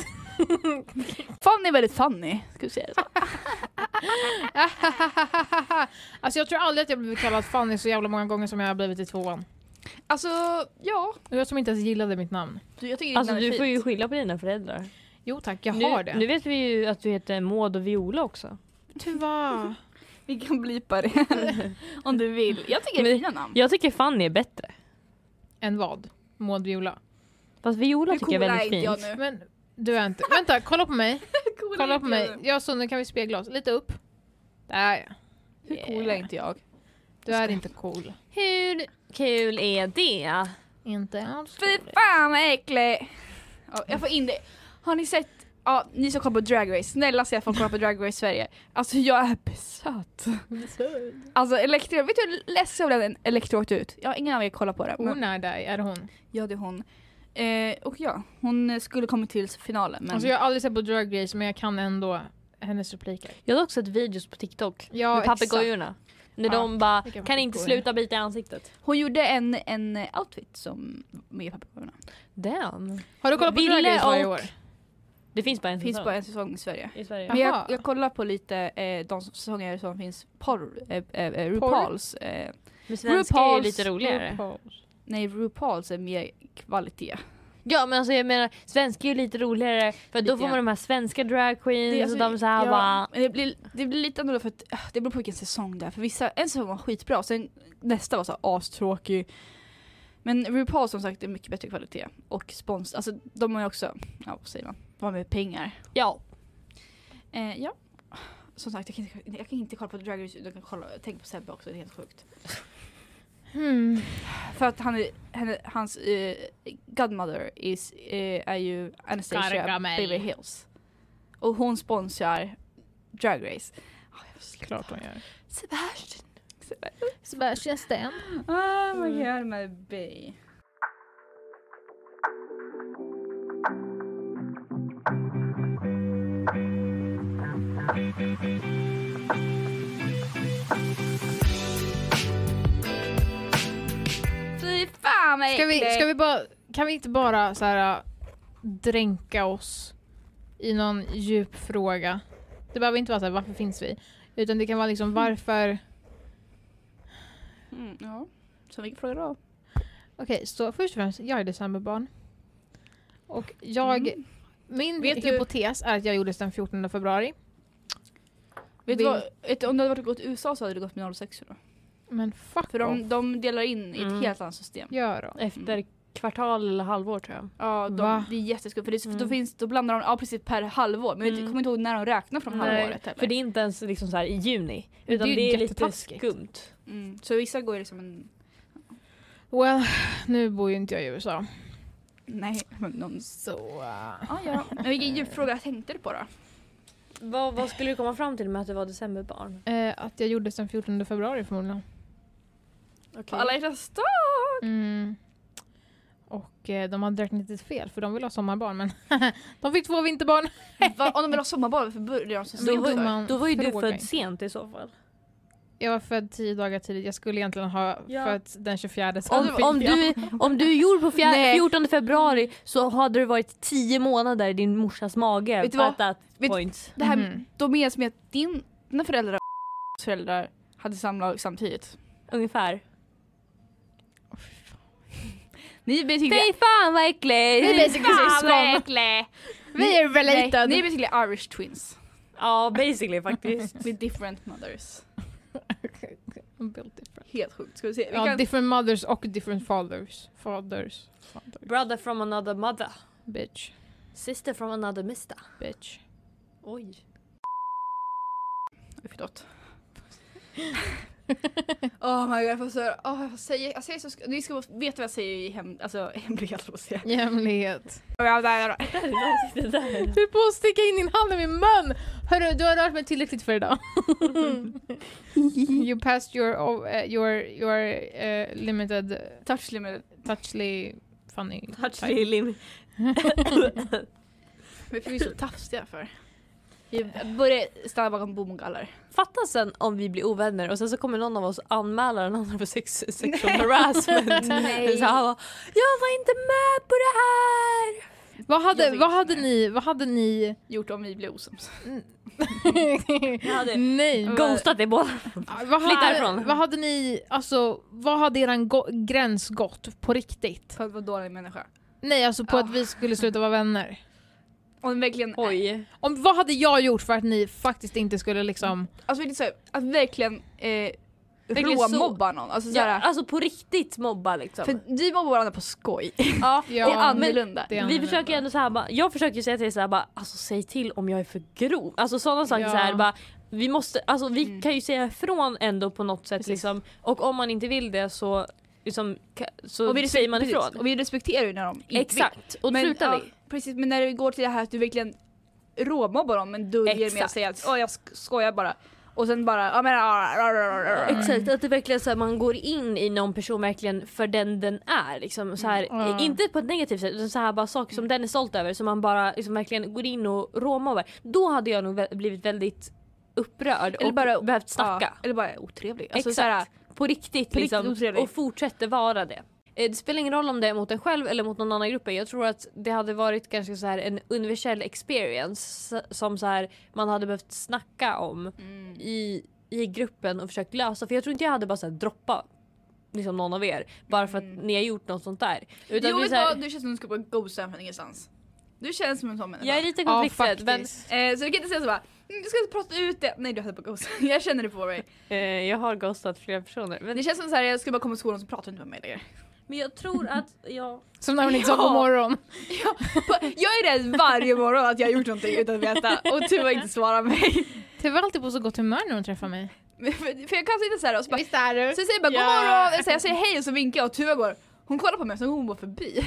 [SPEAKER 3] Fanny är väldigt funny, ska vi säga det så?
[SPEAKER 1] alltså jag tror aldrig att jag blivit kallad Fanny så jävla många gånger som jag har blivit i tvåan.
[SPEAKER 3] Alltså ja,
[SPEAKER 1] Och jag som inte ens gillade mitt namn.
[SPEAKER 3] du, jag tycker
[SPEAKER 2] alltså
[SPEAKER 3] ditt namn är
[SPEAKER 2] du får ju
[SPEAKER 3] fint.
[SPEAKER 2] skylla på dina föräldrar.
[SPEAKER 1] Jo tack, jag
[SPEAKER 2] nu,
[SPEAKER 1] har det.
[SPEAKER 2] nu vet vi ju att du heter Maud och Viola också.
[SPEAKER 1] Tuva.
[SPEAKER 3] Vi kan blipa det om du vill. Jag tycker det är
[SPEAKER 2] Men-
[SPEAKER 3] fina namn.
[SPEAKER 2] Jag tycker Fanny är bättre.
[SPEAKER 1] En vad? Maud Viola.
[SPEAKER 2] Fast Viola
[SPEAKER 3] Hur
[SPEAKER 2] tycker jag
[SPEAKER 3] cool
[SPEAKER 2] är
[SPEAKER 3] är
[SPEAKER 2] väldigt
[SPEAKER 3] inte
[SPEAKER 2] fint.
[SPEAKER 3] jag nu?
[SPEAKER 1] Men du är inte... Vänta, kolla på mig.
[SPEAKER 3] Hur cool är
[SPEAKER 1] Kolla
[SPEAKER 3] inte
[SPEAKER 1] på
[SPEAKER 3] jag
[SPEAKER 1] mig.
[SPEAKER 3] nu?
[SPEAKER 1] Ja Sunne kan vi spegla oss? Lite upp. Där ja.
[SPEAKER 3] Hur cool är inte jag?
[SPEAKER 1] Du är inte cool.
[SPEAKER 2] Hur kul är det?
[SPEAKER 1] Inte alls
[SPEAKER 3] Fy
[SPEAKER 1] cool.
[SPEAKER 3] fan vad äcklig! Ja, jag får in det. Har ni sett, ja ni som kollar på Drag Race, snälla se att folk kollar på Drag Race Sverige. Alltså jag är besatt. Alltså Elektra, vet du hur ledsen jag blev när Elektra åkte ut? Jag har ingen av er kollar på det. men-
[SPEAKER 1] Unadai, är det hon?
[SPEAKER 3] Ja det är hon. Eh, och ja, hon eh, skulle kommit till finalen men
[SPEAKER 1] Alltså jag har aldrig sett på Drag Race men jag kan ändå hennes repliker.
[SPEAKER 2] Jag har också sett videos på TikTok
[SPEAKER 1] Ja,
[SPEAKER 2] med
[SPEAKER 1] exakt.
[SPEAKER 2] papegojorna. När
[SPEAKER 1] Ja,
[SPEAKER 2] de bara
[SPEAKER 1] vilka
[SPEAKER 2] kan inte
[SPEAKER 1] pappor.
[SPEAKER 2] sluta bita i ansiktet.
[SPEAKER 3] Hon gjorde en, en outfit som med papegojerna.
[SPEAKER 2] Damn.
[SPEAKER 1] Har du kollat på
[SPEAKER 2] Ville
[SPEAKER 1] Drag Race varje
[SPEAKER 2] och-
[SPEAKER 1] år?
[SPEAKER 2] Det finns bara en
[SPEAKER 3] Finns
[SPEAKER 2] säsong
[SPEAKER 3] bara en säsong i Sverige.
[SPEAKER 2] i Sverige.
[SPEAKER 3] Men jag,
[SPEAKER 1] Jaha.
[SPEAKER 3] jag kollar på lite eh, de säsonger som finns porr, eh, eh, eh, RuPaus. Eh,
[SPEAKER 2] Men svenska är ju
[SPEAKER 3] RuPaul's-
[SPEAKER 2] lite roligare.
[SPEAKER 3] nej, RuPaus är mer kvalitet.
[SPEAKER 2] Mm, Ja men alltså jag menar, svenska är ju lite roligare för då
[SPEAKER 3] Lite,
[SPEAKER 2] får
[SPEAKER 3] ja.
[SPEAKER 2] man de här svenska drag queens
[SPEAKER 3] Det- alltså,
[SPEAKER 2] och de såhär
[SPEAKER 3] ja,
[SPEAKER 2] bara
[SPEAKER 3] men det, blir, det blir lite annorlunda för att ah, det beror på vilken säsong det är. För vissa, en säsong var skitbra och sen nästa var så här astråkig. Men RuPaul som sagt är mycket bättre kvalitet. Och spons, alltså de har ju också, ja vad säger man, de har mer pengar.
[SPEAKER 2] ja.
[SPEAKER 3] Eh, ja. Som sagt jag kan, inte, jag kan inte kolla på Drag Race utan jag kan kolla, tänk på Sebbe också, det är helt sjukt.
[SPEAKER 1] Hmm.
[SPEAKER 3] För att han är, henne, hans eh, godmother is, eh, är ju Anastasia
[SPEAKER 1] Gargamel.
[SPEAKER 3] Beverly Hills. Och hon sponsrar Drag Race. Ah, jag får sluta.
[SPEAKER 1] Klart hon gör.
[SPEAKER 3] Sebastian.
[SPEAKER 1] Sebastian Stan.
[SPEAKER 3] Oh my god, my bae. Fy fan vad
[SPEAKER 1] Ska vi,
[SPEAKER 3] äckligt.
[SPEAKER 1] ska vi bara, kan vi inte bara så här, äh, dränka oss i någon djup fråga? Det behöver inte vara så här, varför finns vi? Utan det kan vara liksom varför...
[SPEAKER 3] Mm, ja. Så vilken fråga då?
[SPEAKER 1] Okej, så först och främst, jag är decemberbarn. Och jag...
[SPEAKER 3] Mm.
[SPEAKER 1] Min
[SPEAKER 3] Vet du-
[SPEAKER 1] hypotes är att jag gjordes den 14 februari.
[SPEAKER 3] Vet du
[SPEAKER 1] Vill-
[SPEAKER 3] vad, vet du, om det hade varit gått till USA så hade det gått med 06 då.
[SPEAKER 1] Men fuck
[SPEAKER 3] För
[SPEAKER 1] off.
[SPEAKER 3] de, de delar in i ett
[SPEAKER 2] Mm.
[SPEAKER 3] helt annat system.
[SPEAKER 1] Gör då.
[SPEAKER 2] efter kvartal eller halvår tror jag.
[SPEAKER 3] Ja, de,
[SPEAKER 1] Va?
[SPEAKER 3] det är jätteskumt. För det, är så- för då,
[SPEAKER 2] Mm.
[SPEAKER 3] finns, då blandar de ja, precis per halvår. Men jag
[SPEAKER 2] Mm.
[SPEAKER 3] kommer inte ihåg när de räknar från
[SPEAKER 2] Nej,
[SPEAKER 3] halvåret heller.
[SPEAKER 2] För det är inte ens liksom så här i juni utan
[SPEAKER 1] Det
[SPEAKER 2] det
[SPEAKER 1] är
[SPEAKER 2] är,
[SPEAKER 1] ju
[SPEAKER 2] lite
[SPEAKER 1] jättetaskigt.
[SPEAKER 2] skumt.
[SPEAKER 3] mm. Så vissa går ju liksom en...
[SPEAKER 1] Well, nu bor ju inte jag i USA.
[SPEAKER 3] Nej, men någon...
[SPEAKER 1] Så... äh,
[SPEAKER 3] Ja, ja. Men vilken djupfråga tänkte du på då?
[SPEAKER 2] Vad, vad skulle du komma fram till med att du var decemberbarn?
[SPEAKER 1] Eh, att jag gjordes den 14 februari förmodligen.
[SPEAKER 3] På alla hjärtans dag!
[SPEAKER 1] Mm. Och eh, de hade räknat lite fel för de ville ha sommarbarn men de fick två vinterbarn.
[SPEAKER 3] Va, Om de vill ha sommarbarn, varför började de så
[SPEAKER 1] Då
[SPEAKER 2] Då,
[SPEAKER 1] var-
[SPEAKER 3] sent?
[SPEAKER 2] var,
[SPEAKER 1] man då var
[SPEAKER 2] ju
[SPEAKER 1] ju du
[SPEAKER 2] du
[SPEAKER 1] frågar.
[SPEAKER 2] född
[SPEAKER 1] född
[SPEAKER 2] sent i så fall.
[SPEAKER 1] Jag var född tio dagar tidigt, jag skulle egentligen ha
[SPEAKER 2] Ja.
[SPEAKER 1] fötts den 24. sen
[SPEAKER 2] Om,
[SPEAKER 1] fick jag.
[SPEAKER 2] om, du, om du gjorde på fjär,
[SPEAKER 3] Nej.
[SPEAKER 2] 14 februari så hade du varit 10 månader i din morsas mage.
[SPEAKER 3] Vet du
[SPEAKER 2] på
[SPEAKER 3] vad?
[SPEAKER 2] that
[SPEAKER 3] Vet-
[SPEAKER 2] point.
[SPEAKER 3] Det här,
[SPEAKER 1] Mhm.
[SPEAKER 3] Då menas med att din- dina föräldrar och föräldrar hade samlag samtidigt.
[SPEAKER 2] Ungefär.
[SPEAKER 3] Ni är basically,
[SPEAKER 2] Fy fan vad äckligt!
[SPEAKER 1] Vi är basically syskon.
[SPEAKER 2] äckligt!
[SPEAKER 1] Vi är
[SPEAKER 3] nej,
[SPEAKER 1] related!
[SPEAKER 3] ni är basically Irish twins.
[SPEAKER 2] Ja basically faktiskt.
[SPEAKER 3] With different mothers.
[SPEAKER 1] I'm built different.
[SPEAKER 3] Helt sjukt. Ska vi se. Vi
[SPEAKER 1] Ja,
[SPEAKER 3] kan,
[SPEAKER 1] different mothers och different fathers. Fathers. fathers.
[SPEAKER 2] Brother from another mother.
[SPEAKER 1] Bitch.
[SPEAKER 2] Sister from another mister.
[SPEAKER 1] Bitch.
[SPEAKER 2] Oj.
[SPEAKER 3] Förlåt. oh my god, jag får så oh, jag får säga, jag säger så, sk- ni ska veta vad jag säger i hem, alltså hemlighet på sig.
[SPEAKER 1] Jämlikhet.
[SPEAKER 2] Det där är- det där är-
[SPEAKER 1] Du är på att sticka in din hand i min mun! Hörru, du har rört mig tillräckligt för idag. you passed your, ov- eh, your, your eh, limited
[SPEAKER 3] Touch limit.
[SPEAKER 1] touchly funny.
[SPEAKER 2] Touchly lim-
[SPEAKER 3] Varför är vi så tafsiga för? Jag börjar stanna bakom bomgaller.
[SPEAKER 2] Fatta sen om vi blir ovänner och sen så kommer någon av oss anmäla den andra för sex, sexual harassment.
[SPEAKER 3] Nej.
[SPEAKER 2] Så han bara, jag var inte med på det här!
[SPEAKER 1] Vad
[SPEAKER 3] Jag
[SPEAKER 1] hade,
[SPEAKER 3] vet
[SPEAKER 1] vad
[SPEAKER 3] inte.
[SPEAKER 1] hade ni, vad hade ni...
[SPEAKER 3] Gjort om vi blir osams.
[SPEAKER 2] hade-
[SPEAKER 1] Nej.
[SPEAKER 2] Ghostat i båda.
[SPEAKER 1] Vad
[SPEAKER 2] Flytta
[SPEAKER 1] hade,
[SPEAKER 2] härifrån.
[SPEAKER 1] vad hade ni, alltså vad hade eran go- gräns gått på riktigt?
[SPEAKER 3] För att vara dålig människa.
[SPEAKER 1] Nej alltså på
[SPEAKER 3] Ah.
[SPEAKER 1] att vi skulle sluta vara vänner.
[SPEAKER 3] Om verkligen,
[SPEAKER 2] Oj.
[SPEAKER 1] Om, vad hade jag gjort för att ni faktiskt inte skulle liksom...
[SPEAKER 3] alltså lite såhär, att verkligen, eh,
[SPEAKER 2] Verkligen så-
[SPEAKER 3] råmobba någon. Alltså
[SPEAKER 2] Ja,
[SPEAKER 3] såhär,
[SPEAKER 2] alltså på riktigt mobba liksom.
[SPEAKER 3] för vi mobbar varandra på skoj.
[SPEAKER 2] ja.
[SPEAKER 1] Ja,
[SPEAKER 3] det är annorlunda.
[SPEAKER 1] det är
[SPEAKER 2] Vi
[SPEAKER 1] annorlunda.
[SPEAKER 2] försöker ändå så här, bara, jag försöker ju säga till er så här, bara, alltså säg till om jag är för grov. Alltså sådana saker
[SPEAKER 1] Ja.
[SPEAKER 2] så här, bara, vi måste, alltså vi
[SPEAKER 3] Mm.
[SPEAKER 2] kan ju säga ifrån ändå på något sätt
[SPEAKER 1] Precis.
[SPEAKER 2] liksom. Och om man inte vill det så, liksom, ka- så
[SPEAKER 3] vi
[SPEAKER 2] säger man
[SPEAKER 3] precis.
[SPEAKER 2] ifrån.
[SPEAKER 3] Och vi respekterar ju när de inte vill.
[SPEAKER 2] Exakt, och
[SPEAKER 3] Men,
[SPEAKER 2] slutar
[SPEAKER 3] ja,
[SPEAKER 2] vi.
[SPEAKER 3] Precis, men när det går till det här att du verkligen råmobbar dem men döljer med att
[SPEAKER 2] Exakt.
[SPEAKER 3] säga att "Åh, jag sk- skojar bara. Och sen bara ja men ah, rah, rah, rah, rah.
[SPEAKER 2] Exakt, att det verkligen så här, man går in i någon person verkligen för den den är. Liksom, så här,
[SPEAKER 1] Mm.
[SPEAKER 2] eh, Inte på ett negativt sätt utan så här, bara saker som den är stolt över som man bara liksom, verkligen går in och råmar över. Då hade jag nog vä- blivit väldigt upprörd
[SPEAKER 3] Eller
[SPEAKER 2] och
[SPEAKER 3] bara-
[SPEAKER 2] behövt snacka.
[SPEAKER 3] Ja, eller bara otrevlig.
[SPEAKER 2] Exakt.
[SPEAKER 3] Alltså, så här,
[SPEAKER 2] på riktigt
[SPEAKER 3] på riktigt
[SPEAKER 2] liksom.
[SPEAKER 3] otrevlig.
[SPEAKER 2] och fortsätter vara det. Eh, Det spelar ingen roll om det är mot en själv eller mot någon annan i gruppen. Jag tror att det hade varit kanske så här en universell experience s- som så här man hade behövt snacka om
[SPEAKER 3] Mm.
[SPEAKER 2] i, i gruppen och försökt lösa. För jag tror inte jag hade bara så här droppa liksom någon av er bara för att ni har gjort något sånt där. Utan
[SPEAKER 3] Mm. jo,
[SPEAKER 2] det
[SPEAKER 3] vet
[SPEAKER 2] är så
[SPEAKER 3] du vad?
[SPEAKER 2] här,
[SPEAKER 3] Du känns som du ska på god stämning ingenstans. Du känns som en sån människa.
[SPEAKER 2] jag är lite
[SPEAKER 1] Ja,
[SPEAKER 2] konflikträdd men
[SPEAKER 1] faktiskt.
[SPEAKER 3] Eh, så du kan inte säga så bara, "Mm, du ska inte prata ut det. Nej du hade på god stämning. Jag känner det på mig.
[SPEAKER 2] eh, jag har ghostat flera personer. Men,
[SPEAKER 3] Det känns som så här, jag skulle bara komma till skolan så pratar du inte med mig längre.
[SPEAKER 2] men jag tror att jag...
[SPEAKER 1] Som när hon inte sa
[SPEAKER 3] Ja.
[SPEAKER 1] god morgon.
[SPEAKER 3] På- Jag är rädd varje morgon att jag har gjort någonting utan att veta och Tuva inte svarar mig.
[SPEAKER 1] Tuva är Typ alltid på så gott humör när hon träffar mig.
[SPEAKER 3] Men- För för jag kan sitta så här och så bara,
[SPEAKER 1] Visst är du?
[SPEAKER 3] så jag säger bara god
[SPEAKER 1] Ja.
[SPEAKER 3] morgon, Eller så här, jag säger hej och så vinkar jag och Tuva går. Hon kollar på mig och så hon går förbi.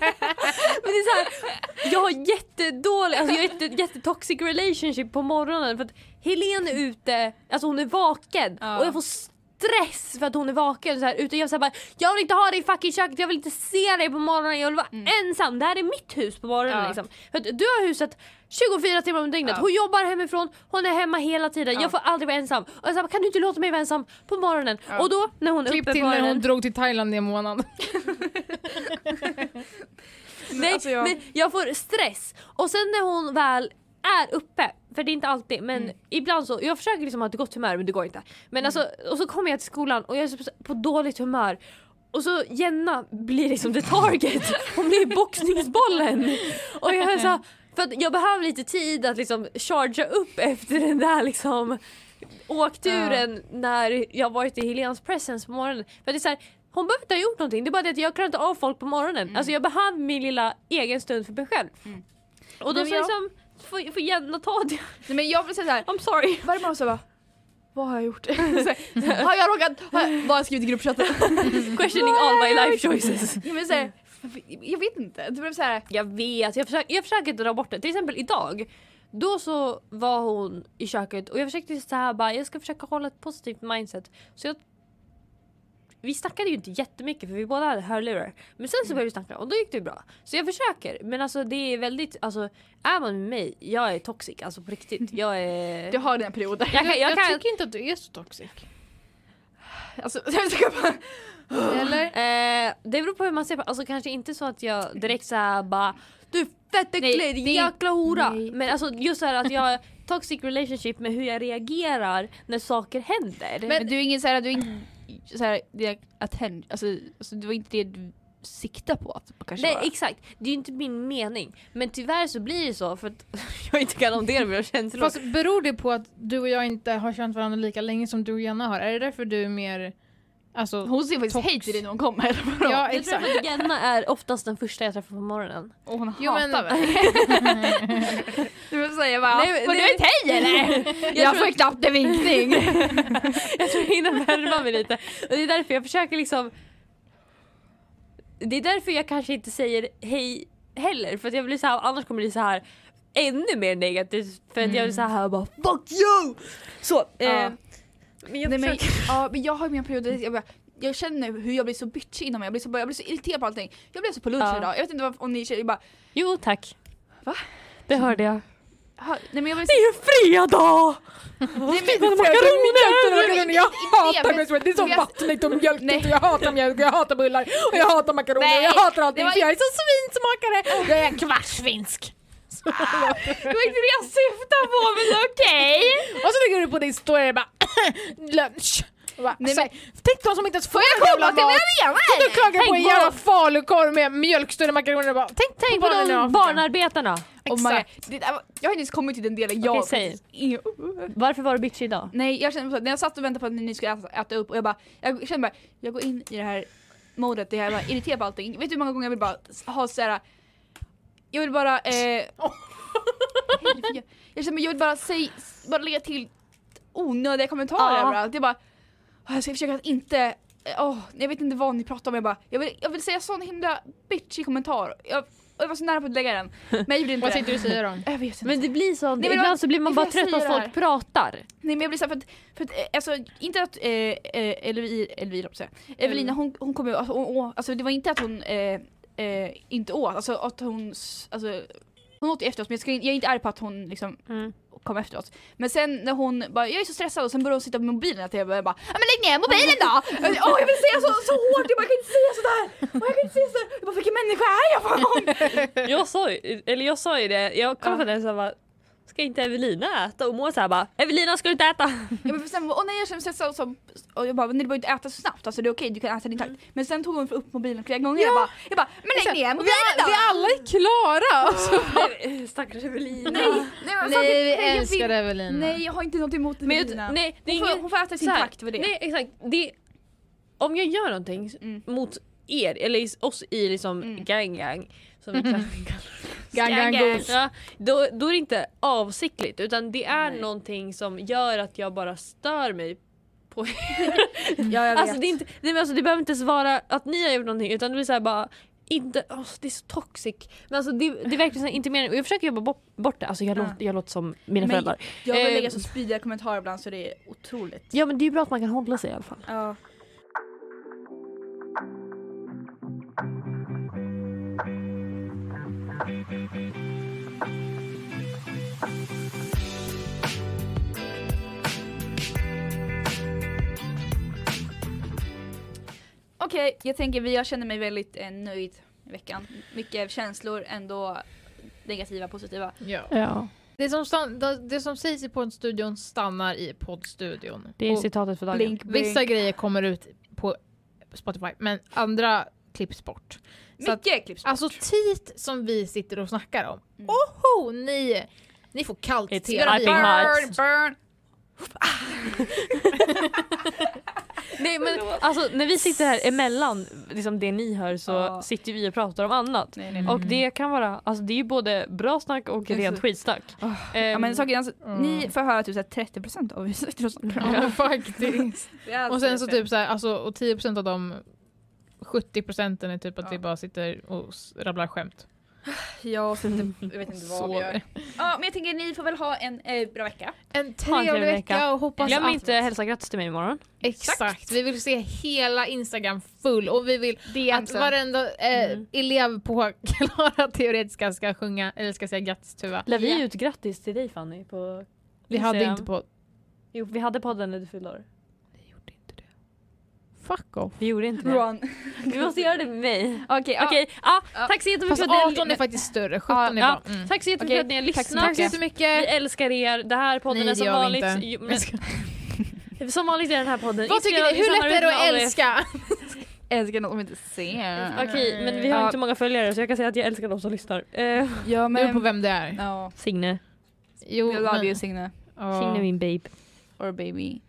[SPEAKER 2] Men det är så här, jag har jättedålig, alltså jag har jätte, jättetoxic relationship på morgonen för att Helene är ute, alltså hon är vaken
[SPEAKER 3] Ja.
[SPEAKER 2] och jag får stress för att hon är vaken. Så här, ute. Jag säger bara, jag vill inte ha dig i fucking köket, jag vill inte se dig på morgonen, jag vill vara ensam. Det här är mitt hus på morgonen
[SPEAKER 3] Mm. Ja.
[SPEAKER 2] liksom. För att du har huset 24 timmar om dygnet,
[SPEAKER 3] Ja.
[SPEAKER 2] hon jobbar hemifrån, hon är hemma hela tiden,
[SPEAKER 3] Ja.
[SPEAKER 2] jag får aldrig vara ensam. Och jag säger bara, kan du inte låta mig vara ensam på morgonen?
[SPEAKER 3] Ja.
[SPEAKER 2] Och då när hon är
[SPEAKER 1] Klipp
[SPEAKER 2] uppe
[SPEAKER 1] till
[SPEAKER 2] på
[SPEAKER 1] när hon
[SPEAKER 2] morgonen
[SPEAKER 1] drog till Thailand i en månad.
[SPEAKER 3] Men
[SPEAKER 2] Nej,
[SPEAKER 3] alltså jag-
[SPEAKER 2] men jag får stress. Och sen när hon väl är uppe, för det är inte alltid men
[SPEAKER 3] Mm.
[SPEAKER 2] ibland så, jag försöker liksom ha ett gott humör men det går inte. Men alltså, och så kommer jag till skolan och jag är så på dåligt humör. Och så Jenna blir liksom the target, hon blir boxningsbollen. Och jag är så här, för att jag behöver lite tid att liksom chargea upp efter den där liksom åkturen när jag varit i Helens presence på morgonen. För det är så här, hon behöver inte ha gjort någonting, det är bara det att jag klarar inte av folk på morgonen. Alltså jag behöver min lilla egen stund för mig själv. Och då
[SPEAKER 3] Nej,
[SPEAKER 2] så
[SPEAKER 3] men jag-
[SPEAKER 2] liksom, får, får Jenna ta det.
[SPEAKER 3] Nej, men jag blir så här,
[SPEAKER 2] I'm sorry.
[SPEAKER 3] varje morgon så bara, vad har jag gjort? Så här, har jag råkat, har jag, vad har jag skrivit i gruppchatten?
[SPEAKER 2] Questioning all my life choices.
[SPEAKER 3] Jag, men så här, jag vet inte, det blev så här,
[SPEAKER 2] Jag vet, jag försöker, jag försöker dra bort det. Till exempel idag. Då så var hon i köket och jag försökte så här bara, jag ska försöka hålla ett positivt mindset. Så jag, vi snackade ju inte jättemycket för vi båda hade hörlurar. Men sen så började vi snacka och då gick det bra. Så jag försöker men alltså det är väldigt, alltså är man med mig, jag är toxic alltså på riktigt. Jag är...
[SPEAKER 3] du har dina perioder.
[SPEAKER 2] Jag kan, jag
[SPEAKER 1] jag
[SPEAKER 2] kan,
[SPEAKER 1] tycker inte att du är så toxic.
[SPEAKER 3] Alltså, jag ska bara,
[SPEAKER 1] Eller?
[SPEAKER 2] eh, det beror på hur man ser på Alltså kanske inte så att jag direkt såhär bara Du är fett
[SPEAKER 3] Nej,
[SPEAKER 2] äcklig,
[SPEAKER 3] det
[SPEAKER 2] din
[SPEAKER 3] är-
[SPEAKER 2] jäkla hora.
[SPEAKER 3] nej.
[SPEAKER 2] Men alltså just såhär att jag har toxic relationship med hur jag reagerar när saker händer.
[SPEAKER 3] Men, du är ingen såhär, du är ingen såhär, attention, alltså, alltså det var inte det du siktade på att kanske
[SPEAKER 2] Nej
[SPEAKER 3] vara.
[SPEAKER 2] exakt, det är ju inte min mening. Men tyvärr så blir det så för att jag inte kan hantera mina känslor.
[SPEAKER 1] Fast beror det på att du och jag inte har känt varandra lika länge som du och Jenna har? Är det därför du är mer... Alltså,
[SPEAKER 3] Hon ser faktiskt
[SPEAKER 1] Tox.
[SPEAKER 3] hej till dig när hon kommer. eller vadå?
[SPEAKER 1] ja
[SPEAKER 2] jag tror
[SPEAKER 1] exakt.
[SPEAKER 2] att Jenna är oftast den första jag träffar på morgonen.
[SPEAKER 3] Och hon
[SPEAKER 1] Jo,
[SPEAKER 3] hatar
[SPEAKER 1] men-
[SPEAKER 3] mig. Du vill säga bara,
[SPEAKER 2] Nej,
[SPEAKER 3] var
[SPEAKER 2] nej.
[SPEAKER 3] du ett hej eller? Jag,
[SPEAKER 2] Jag tror-
[SPEAKER 3] får knappt en vinkning.
[SPEAKER 2] jag tror jag hinner värma mig lite. Och det är därför jag försöker liksom... Det är därför jag kanske inte säger hej heller. För att jag blir så här, annars kommer det bli så här ännu mer negativt. För att jag blir så här bara FUCK YOU! Så. Eh,
[SPEAKER 3] Ja.
[SPEAKER 2] men jag
[SPEAKER 3] Nej, men,
[SPEAKER 2] försöker...
[SPEAKER 3] ja, men jag har mina perioder, jag, bara, jag känner hur jag blir så bitchig inom mig, jag blir så, bara- jag blir så irriterad på allting. Jag blev så på lunch
[SPEAKER 2] Ja.
[SPEAKER 3] idag, jag vet inte varför, om ni tjejer bara,
[SPEAKER 2] Jo tack.
[SPEAKER 3] Va?
[SPEAKER 2] Det hörde jag.
[SPEAKER 3] ha, nej men jag blev
[SPEAKER 2] Det
[SPEAKER 3] så...
[SPEAKER 2] är ju fredag!
[SPEAKER 3] Nej,
[SPEAKER 2] Men
[SPEAKER 3] men,
[SPEAKER 1] Makaroner! Jag hatar
[SPEAKER 3] men-
[SPEAKER 1] mjölk, det är som
[SPEAKER 3] jag-
[SPEAKER 1] vattnet och mjölket
[SPEAKER 3] Nej.
[SPEAKER 1] och jag hatar mjölk och jag hatar bullar och jag hatar makaroner
[SPEAKER 3] Nej,
[SPEAKER 1] och jag hatar
[SPEAKER 3] det
[SPEAKER 1] allting
[SPEAKER 3] var-
[SPEAKER 1] för jag är så svinsmakare! Jag är kvartsfinsk!
[SPEAKER 3] det var inte det jag syftade på men okej!
[SPEAKER 1] Och så lägger du på din story och bara lunch. Och bara,
[SPEAKER 3] Nej,
[SPEAKER 1] så här, Tänk de som inte ens får
[SPEAKER 3] Jag kommer till vad
[SPEAKER 1] mat.
[SPEAKER 3] jag
[SPEAKER 1] Du
[SPEAKER 3] menar!
[SPEAKER 1] klagar på en
[SPEAKER 2] Tänk
[SPEAKER 1] jävla
[SPEAKER 2] på-
[SPEAKER 1] falukorv med mjölkstuvade makaroner och bara tänk, tänk
[SPEAKER 2] På
[SPEAKER 1] barnen i
[SPEAKER 2] de
[SPEAKER 1] Afrika.
[SPEAKER 2] barnarbetarna.
[SPEAKER 3] Oh my,
[SPEAKER 1] Exakt.
[SPEAKER 3] det, där var- jag har inte ens kommit till den delen jag...
[SPEAKER 2] Okej, säg.
[SPEAKER 3] Ingen-
[SPEAKER 2] Varför var du bitch idag?
[SPEAKER 3] Nej jag kände så, när jag satt och väntade på att ni skulle äta, äta upp och jag bara, jag kände bara, jag går in i det här modet där jag bara irriterar på allting. Vet du hur många gånger jag vill bara ha såhär, jag vill bara, eh, jag, jag känner jag vill bara säga, bara lägga till onödiga kommentarer
[SPEAKER 2] Ja.
[SPEAKER 3] överallt. Jag bara, "Ah, jag ska försöka att inte, eh, åh, jag vet inte vad ni pratar om. Jag bara, jag vill, jag vill säga sån himla bitchig kommentar. Jag, jag var så nära på att lägga den, men jag gjorde inte
[SPEAKER 1] Vad
[SPEAKER 3] det.
[SPEAKER 1] tänkte du säga då?
[SPEAKER 3] Jag vet inte.
[SPEAKER 2] Men det blir så,
[SPEAKER 3] men
[SPEAKER 2] ibland
[SPEAKER 3] vad-
[SPEAKER 2] så blir man
[SPEAKER 3] det är
[SPEAKER 2] bara
[SPEAKER 3] vad jag
[SPEAKER 2] trött när
[SPEAKER 3] säger
[SPEAKER 2] folk
[SPEAKER 3] här.
[SPEAKER 2] pratar.
[SPEAKER 3] Nej men jag blir såhär för att, för att eh, alltså inte att eh, eh, Elvira, Elvira säga. Evelina hon, hon kom ju, alltså, hon, å- alltså det var inte att hon eh, eh, inte åt, alltså att hon, s- alltså hon åt ju efter oss men jag, ska, in- jag är inte arg på att hon liksom
[SPEAKER 2] Mm.
[SPEAKER 3] kom efteråt. Men sen när hon bara, jag är så stressad och sen började hon sitta på mobilen att jag bara, bara "Ja, men lägg ner mobilen då! Åh jag vill säga så, så hårt, jag bara, jag kan inte säga sådär! Åh, jag kan inte säga sådär! Jag bara, vilken människa är jag fan?
[SPEAKER 2] Jag sa ju, eller jag sa ju det, jag kom
[SPEAKER 3] Ja.
[SPEAKER 2] på det så här bara Ska inte Evelina äta? Och Moa såhär bara Evelina ska du inte äta?
[SPEAKER 3] Ja, men för sen, åh nej jag känner mig stressad och, så, och jag bara, men du behöver inte äta så snabbt, alltså det är okej du kan äta din takt. Men sen tog hon upp mobilen flera gånger jag bara, jag bara, men lägg ner
[SPEAKER 1] Vi,
[SPEAKER 3] mobilen då!
[SPEAKER 1] vi alla är klara! Och så-
[SPEAKER 2] Stackars Evelina.
[SPEAKER 3] Nej, nej, men fan,
[SPEAKER 1] Nej, vi
[SPEAKER 3] jag vill-
[SPEAKER 1] älskar Evelina.
[SPEAKER 3] Nej jag har inte något emot
[SPEAKER 2] Men jag,
[SPEAKER 3] Evelina.
[SPEAKER 2] nej, det är
[SPEAKER 3] hon, får,
[SPEAKER 2] ingen-
[SPEAKER 3] hon får äta sin
[SPEAKER 2] så här,
[SPEAKER 3] takt för det.
[SPEAKER 2] Nej exakt. Det, om jag gör någonting s-
[SPEAKER 3] Mm.
[SPEAKER 2] mot er, eller is- oss i liksom
[SPEAKER 3] Mm.
[SPEAKER 2] gang gang. Som vi kallar
[SPEAKER 1] Gang, gang, goals.
[SPEAKER 2] ja, då, då är det inte avsiktligt utan det är
[SPEAKER 3] Nej.
[SPEAKER 2] någonting som gör att jag bara stör mig.
[SPEAKER 3] Ja, jag vet.
[SPEAKER 2] Alltså det, är inte, nej, men alltså det behöver inte ens vara att ni har gjort någonting utan det blir såhär bara inte, åh, det är så toxic. Men alltså det, det är verkligen så här, inte meningen. Och jag försöker jobba bort, bort det. Alltså jag,
[SPEAKER 3] Ja.
[SPEAKER 2] låter, jag låter som mina
[SPEAKER 3] Men-
[SPEAKER 2] föräldrar.
[SPEAKER 3] jag vill
[SPEAKER 2] eh,
[SPEAKER 3] lägga så spydiga kommentarer ibland så det är otroligt.
[SPEAKER 2] Ja men det är ju bra att man kan hålla sig i alla fall.
[SPEAKER 3] Ja. Okej, jag tänker vi- jag känner mig väldigt eh, nöjd i veckan. Mycket känslor, ändå negativa, positiva.
[SPEAKER 1] Ja.
[SPEAKER 2] Ja.
[SPEAKER 1] Det, som stan- det- det som sägs i poddstudion stannar i poddstudion.
[SPEAKER 2] Det är
[SPEAKER 1] Och
[SPEAKER 2] citatet för dagen.
[SPEAKER 3] Blink, blink.
[SPEAKER 1] vissa grejer kommer ut på Spotify men andra klipps bort. Så att,
[SPEAKER 3] Mycket klipps bort.
[SPEAKER 1] alltså tit som vi sitter och snackar om.
[SPEAKER 3] Mm.
[SPEAKER 1] Oho, ni, ni får kallt
[SPEAKER 2] It's
[SPEAKER 1] te.
[SPEAKER 3] Ah,
[SPEAKER 2] burning
[SPEAKER 1] Vi-
[SPEAKER 2] hot.
[SPEAKER 3] burn!
[SPEAKER 2] Nej men alltså när vi sitter här emellan liksom det ni hör så
[SPEAKER 3] Ja.
[SPEAKER 2] sitter vi och pratar om annat.
[SPEAKER 3] Nej, nej, nej.
[SPEAKER 1] Mm.
[SPEAKER 2] Och det kan vara, alltså det är ju både bra snack och
[SPEAKER 3] är
[SPEAKER 2] rent
[SPEAKER 3] så-
[SPEAKER 2] skitsnack.
[SPEAKER 3] Ah. Ja,
[SPEAKER 2] Ehm,
[SPEAKER 3] men saken är alltså,
[SPEAKER 1] Mm.
[SPEAKER 3] ni får höra typ så här 30% av hur vi sitter och snackar.
[SPEAKER 1] Ja, faktiskt. Och sen så typ så här, alltså, och 10% av dem 70 procenten är typ att
[SPEAKER 3] Ja.
[SPEAKER 1] vi bara sitter och s- rabblar skämt.
[SPEAKER 3] Ja, och sen typ, jag vet inte vad vi gör.
[SPEAKER 1] Sover.
[SPEAKER 3] Ja, men jag tänker ni får väl ha en eh, bra vecka.
[SPEAKER 1] En
[SPEAKER 2] trevlig
[SPEAKER 1] trevlig
[SPEAKER 2] vecka.
[SPEAKER 1] vecka och hoppas
[SPEAKER 2] Glöm
[SPEAKER 1] att...
[SPEAKER 2] inte hälsa grattis till mig imorgon.
[SPEAKER 1] Exakt. Vi vill se hela Instagram full och vi vill att
[SPEAKER 3] DMsen.
[SPEAKER 1] varenda eh,
[SPEAKER 2] Mm.
[SPEAKER 1] elev på Klara Teoretiska ska sjunga, eller ska säga grattis Tuva.
[SPEAKER 2] La vi
[SPEAKER 3] Ja.
[SPEAKER 2] ut grattis till dig Fanny på
[SPEAKER 1] Vi hade
[SPEAKER 2] Instagram?
[SPEAKER 1] inte på...
[SPEAKER 2] Jo vi hade podden när du fyllde år.
[SPEAKER 1] Fuck off.
[SPEAKER 2] Vi gjorde inte det.
[SPEAKER 3] Run.
[SPEAKER 2] Vi måste göra det med mig.
[SPEAKER 3] Okej, ja.
[SPEAKER 2] Okej, ja,
[SPEAKER 3] Ja.
[SPEAKER 2] tack så jättemycket
[SPEAKER 1] Fast
[SPEAKER 2] för att ni-
[SPEAKER 1] 18 är faktiskt större, 17 är
[SPEAKER 2] Ja,
[SPEAKER 1] bara... Mm.
[SPEAKER 2] Tack så jättemycket
[SPEAKER 3] Okej,
[SPEAKER 2] för att ni har
[SPEAKER 3] tack så
[SPEAKER 2] lyssnat.
[SPEAKER 1] Tack så
[SPEAKER 2] Vi
[SPEAKER 1] jättemycket!
[SPEAKER 2] älskar er. Det här podden
[SPEAKER 1] Nej,
[SPEAKER 2] är
[SPEAKER 1] det
[SPEAKER 2] som
[SPEAKER 1] gör vi
[SPEAKER 2] vanligt.
[SPEAKER 1] inte.
[SPEAKER 2] Jo, men- Som vanligt är den här podden
[SPEAKER 1] Vad tycker
[SPEAKER 2] inspelad
[SPEAKER 1] ni?
[SPEAKER 2] i
[SPEAKER 1] Hur lätt är det att
[SPEAKER 2] samarbete med AF.
[SPEAKER 1] älska?
[SPEAKER 3] Älskar något de inte ser.
[SPEAKER 2] Okej, men vi
[SPEAKER 3] Ja.
[SPEAKER 2] har inte många följare så jag kan säga att jag älskar de som lyssnar. Eh,
[SPEAKER 3] Ja,
[SPEAKER 1] Det beror på
[SPEAKER 3] men...
[SPEAKER 1] vem det är.
[SPEAKER 3] Ja.
[SPEAKER 2] Signe.
[SPEAKER 1] Jo,
[SPEAKER 3] We love
[SPEAKER 1] men-
[SPEAKER 3] you Signe.
[SPEAKER 1] ja.
[SPEAKER 2] Signe min babe.
[SPEAKER 3] Or baby.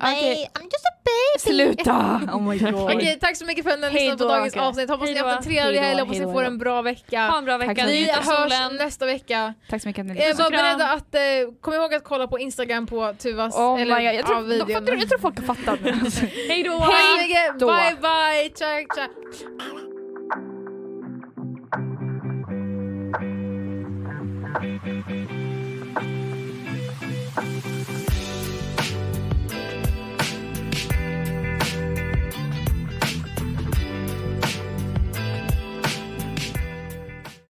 [SPEAKER 1] Nej,
[SPEAKER 3] I'm just a baby! Sluta! Oh my god.
[SPEAKER 1] Okej, tack så mycket för att ni har
[SPEAKER 3] Hej
[SPEAKER 1] lyssnat på
[SPEAKER 3] då,
[SPEAKER 1] dagens
[SPEAKER 3] Anka.
[SPEAKER 1] avsnitt. Hoppas ni
[SPEAKER 2] Hej
[SPEAKER 1] har haft
[SPEAKER 2] då,
[SPEAKER 1] en trevlig
[SPEAKER 2] hej
[SPEAKER 1] helg,
[SPEAKER 2] då,
[SPEAKER 1] hoppas
[SPEAKER 2] hej
[SPEAKER 1] ni
[SPEAKER 2] då,
[SPEAKER 1] får
[SPEAKER 2] hej då.
[SPEAKER 1] en bra
[SPEAKER 2] Ha
[SPEAKER 1] vecka.
[SPEAKER 2] en bra
[SPEAKER 3] Tack
[SPEAKER 2] vecka.
[SPEAKER 3] så mycket.
[SPEAKER 1] Vi
[SPEAKER 2] Njut av
[SPEAKER 1] hörs
[SPEAKER 2] solen.
[SPEAKER 1] nästa vecka.
[SPEAKER 3] Tack så mycket att ni
[SPEAKER 1] Eh,
[SPEAKER 3] lyssnade.
[SPEAKER 1] var
[SPEAKER 2] kram.
[SPEAKER 1] beredda att, eh, kom ihåg att kolla på Instagram på Tuvas,
[SPEAKER 3] Oh my
[SPEAKER 1] eller
[SPEAKER 3] god, jag
[SPEAKER 1] ja,
[SPEAKER 3] tror, de,
[SPEAKER 1] videon.
[SPEAKER 3] fattar, jag tror folk har fattat.
[SPEAKER 2] Hej då!
[SPEAKER 1] Hej! Hej
[SPEAKER 3] då.
[SPEAKER 1] bye bye! Ciao, ciao.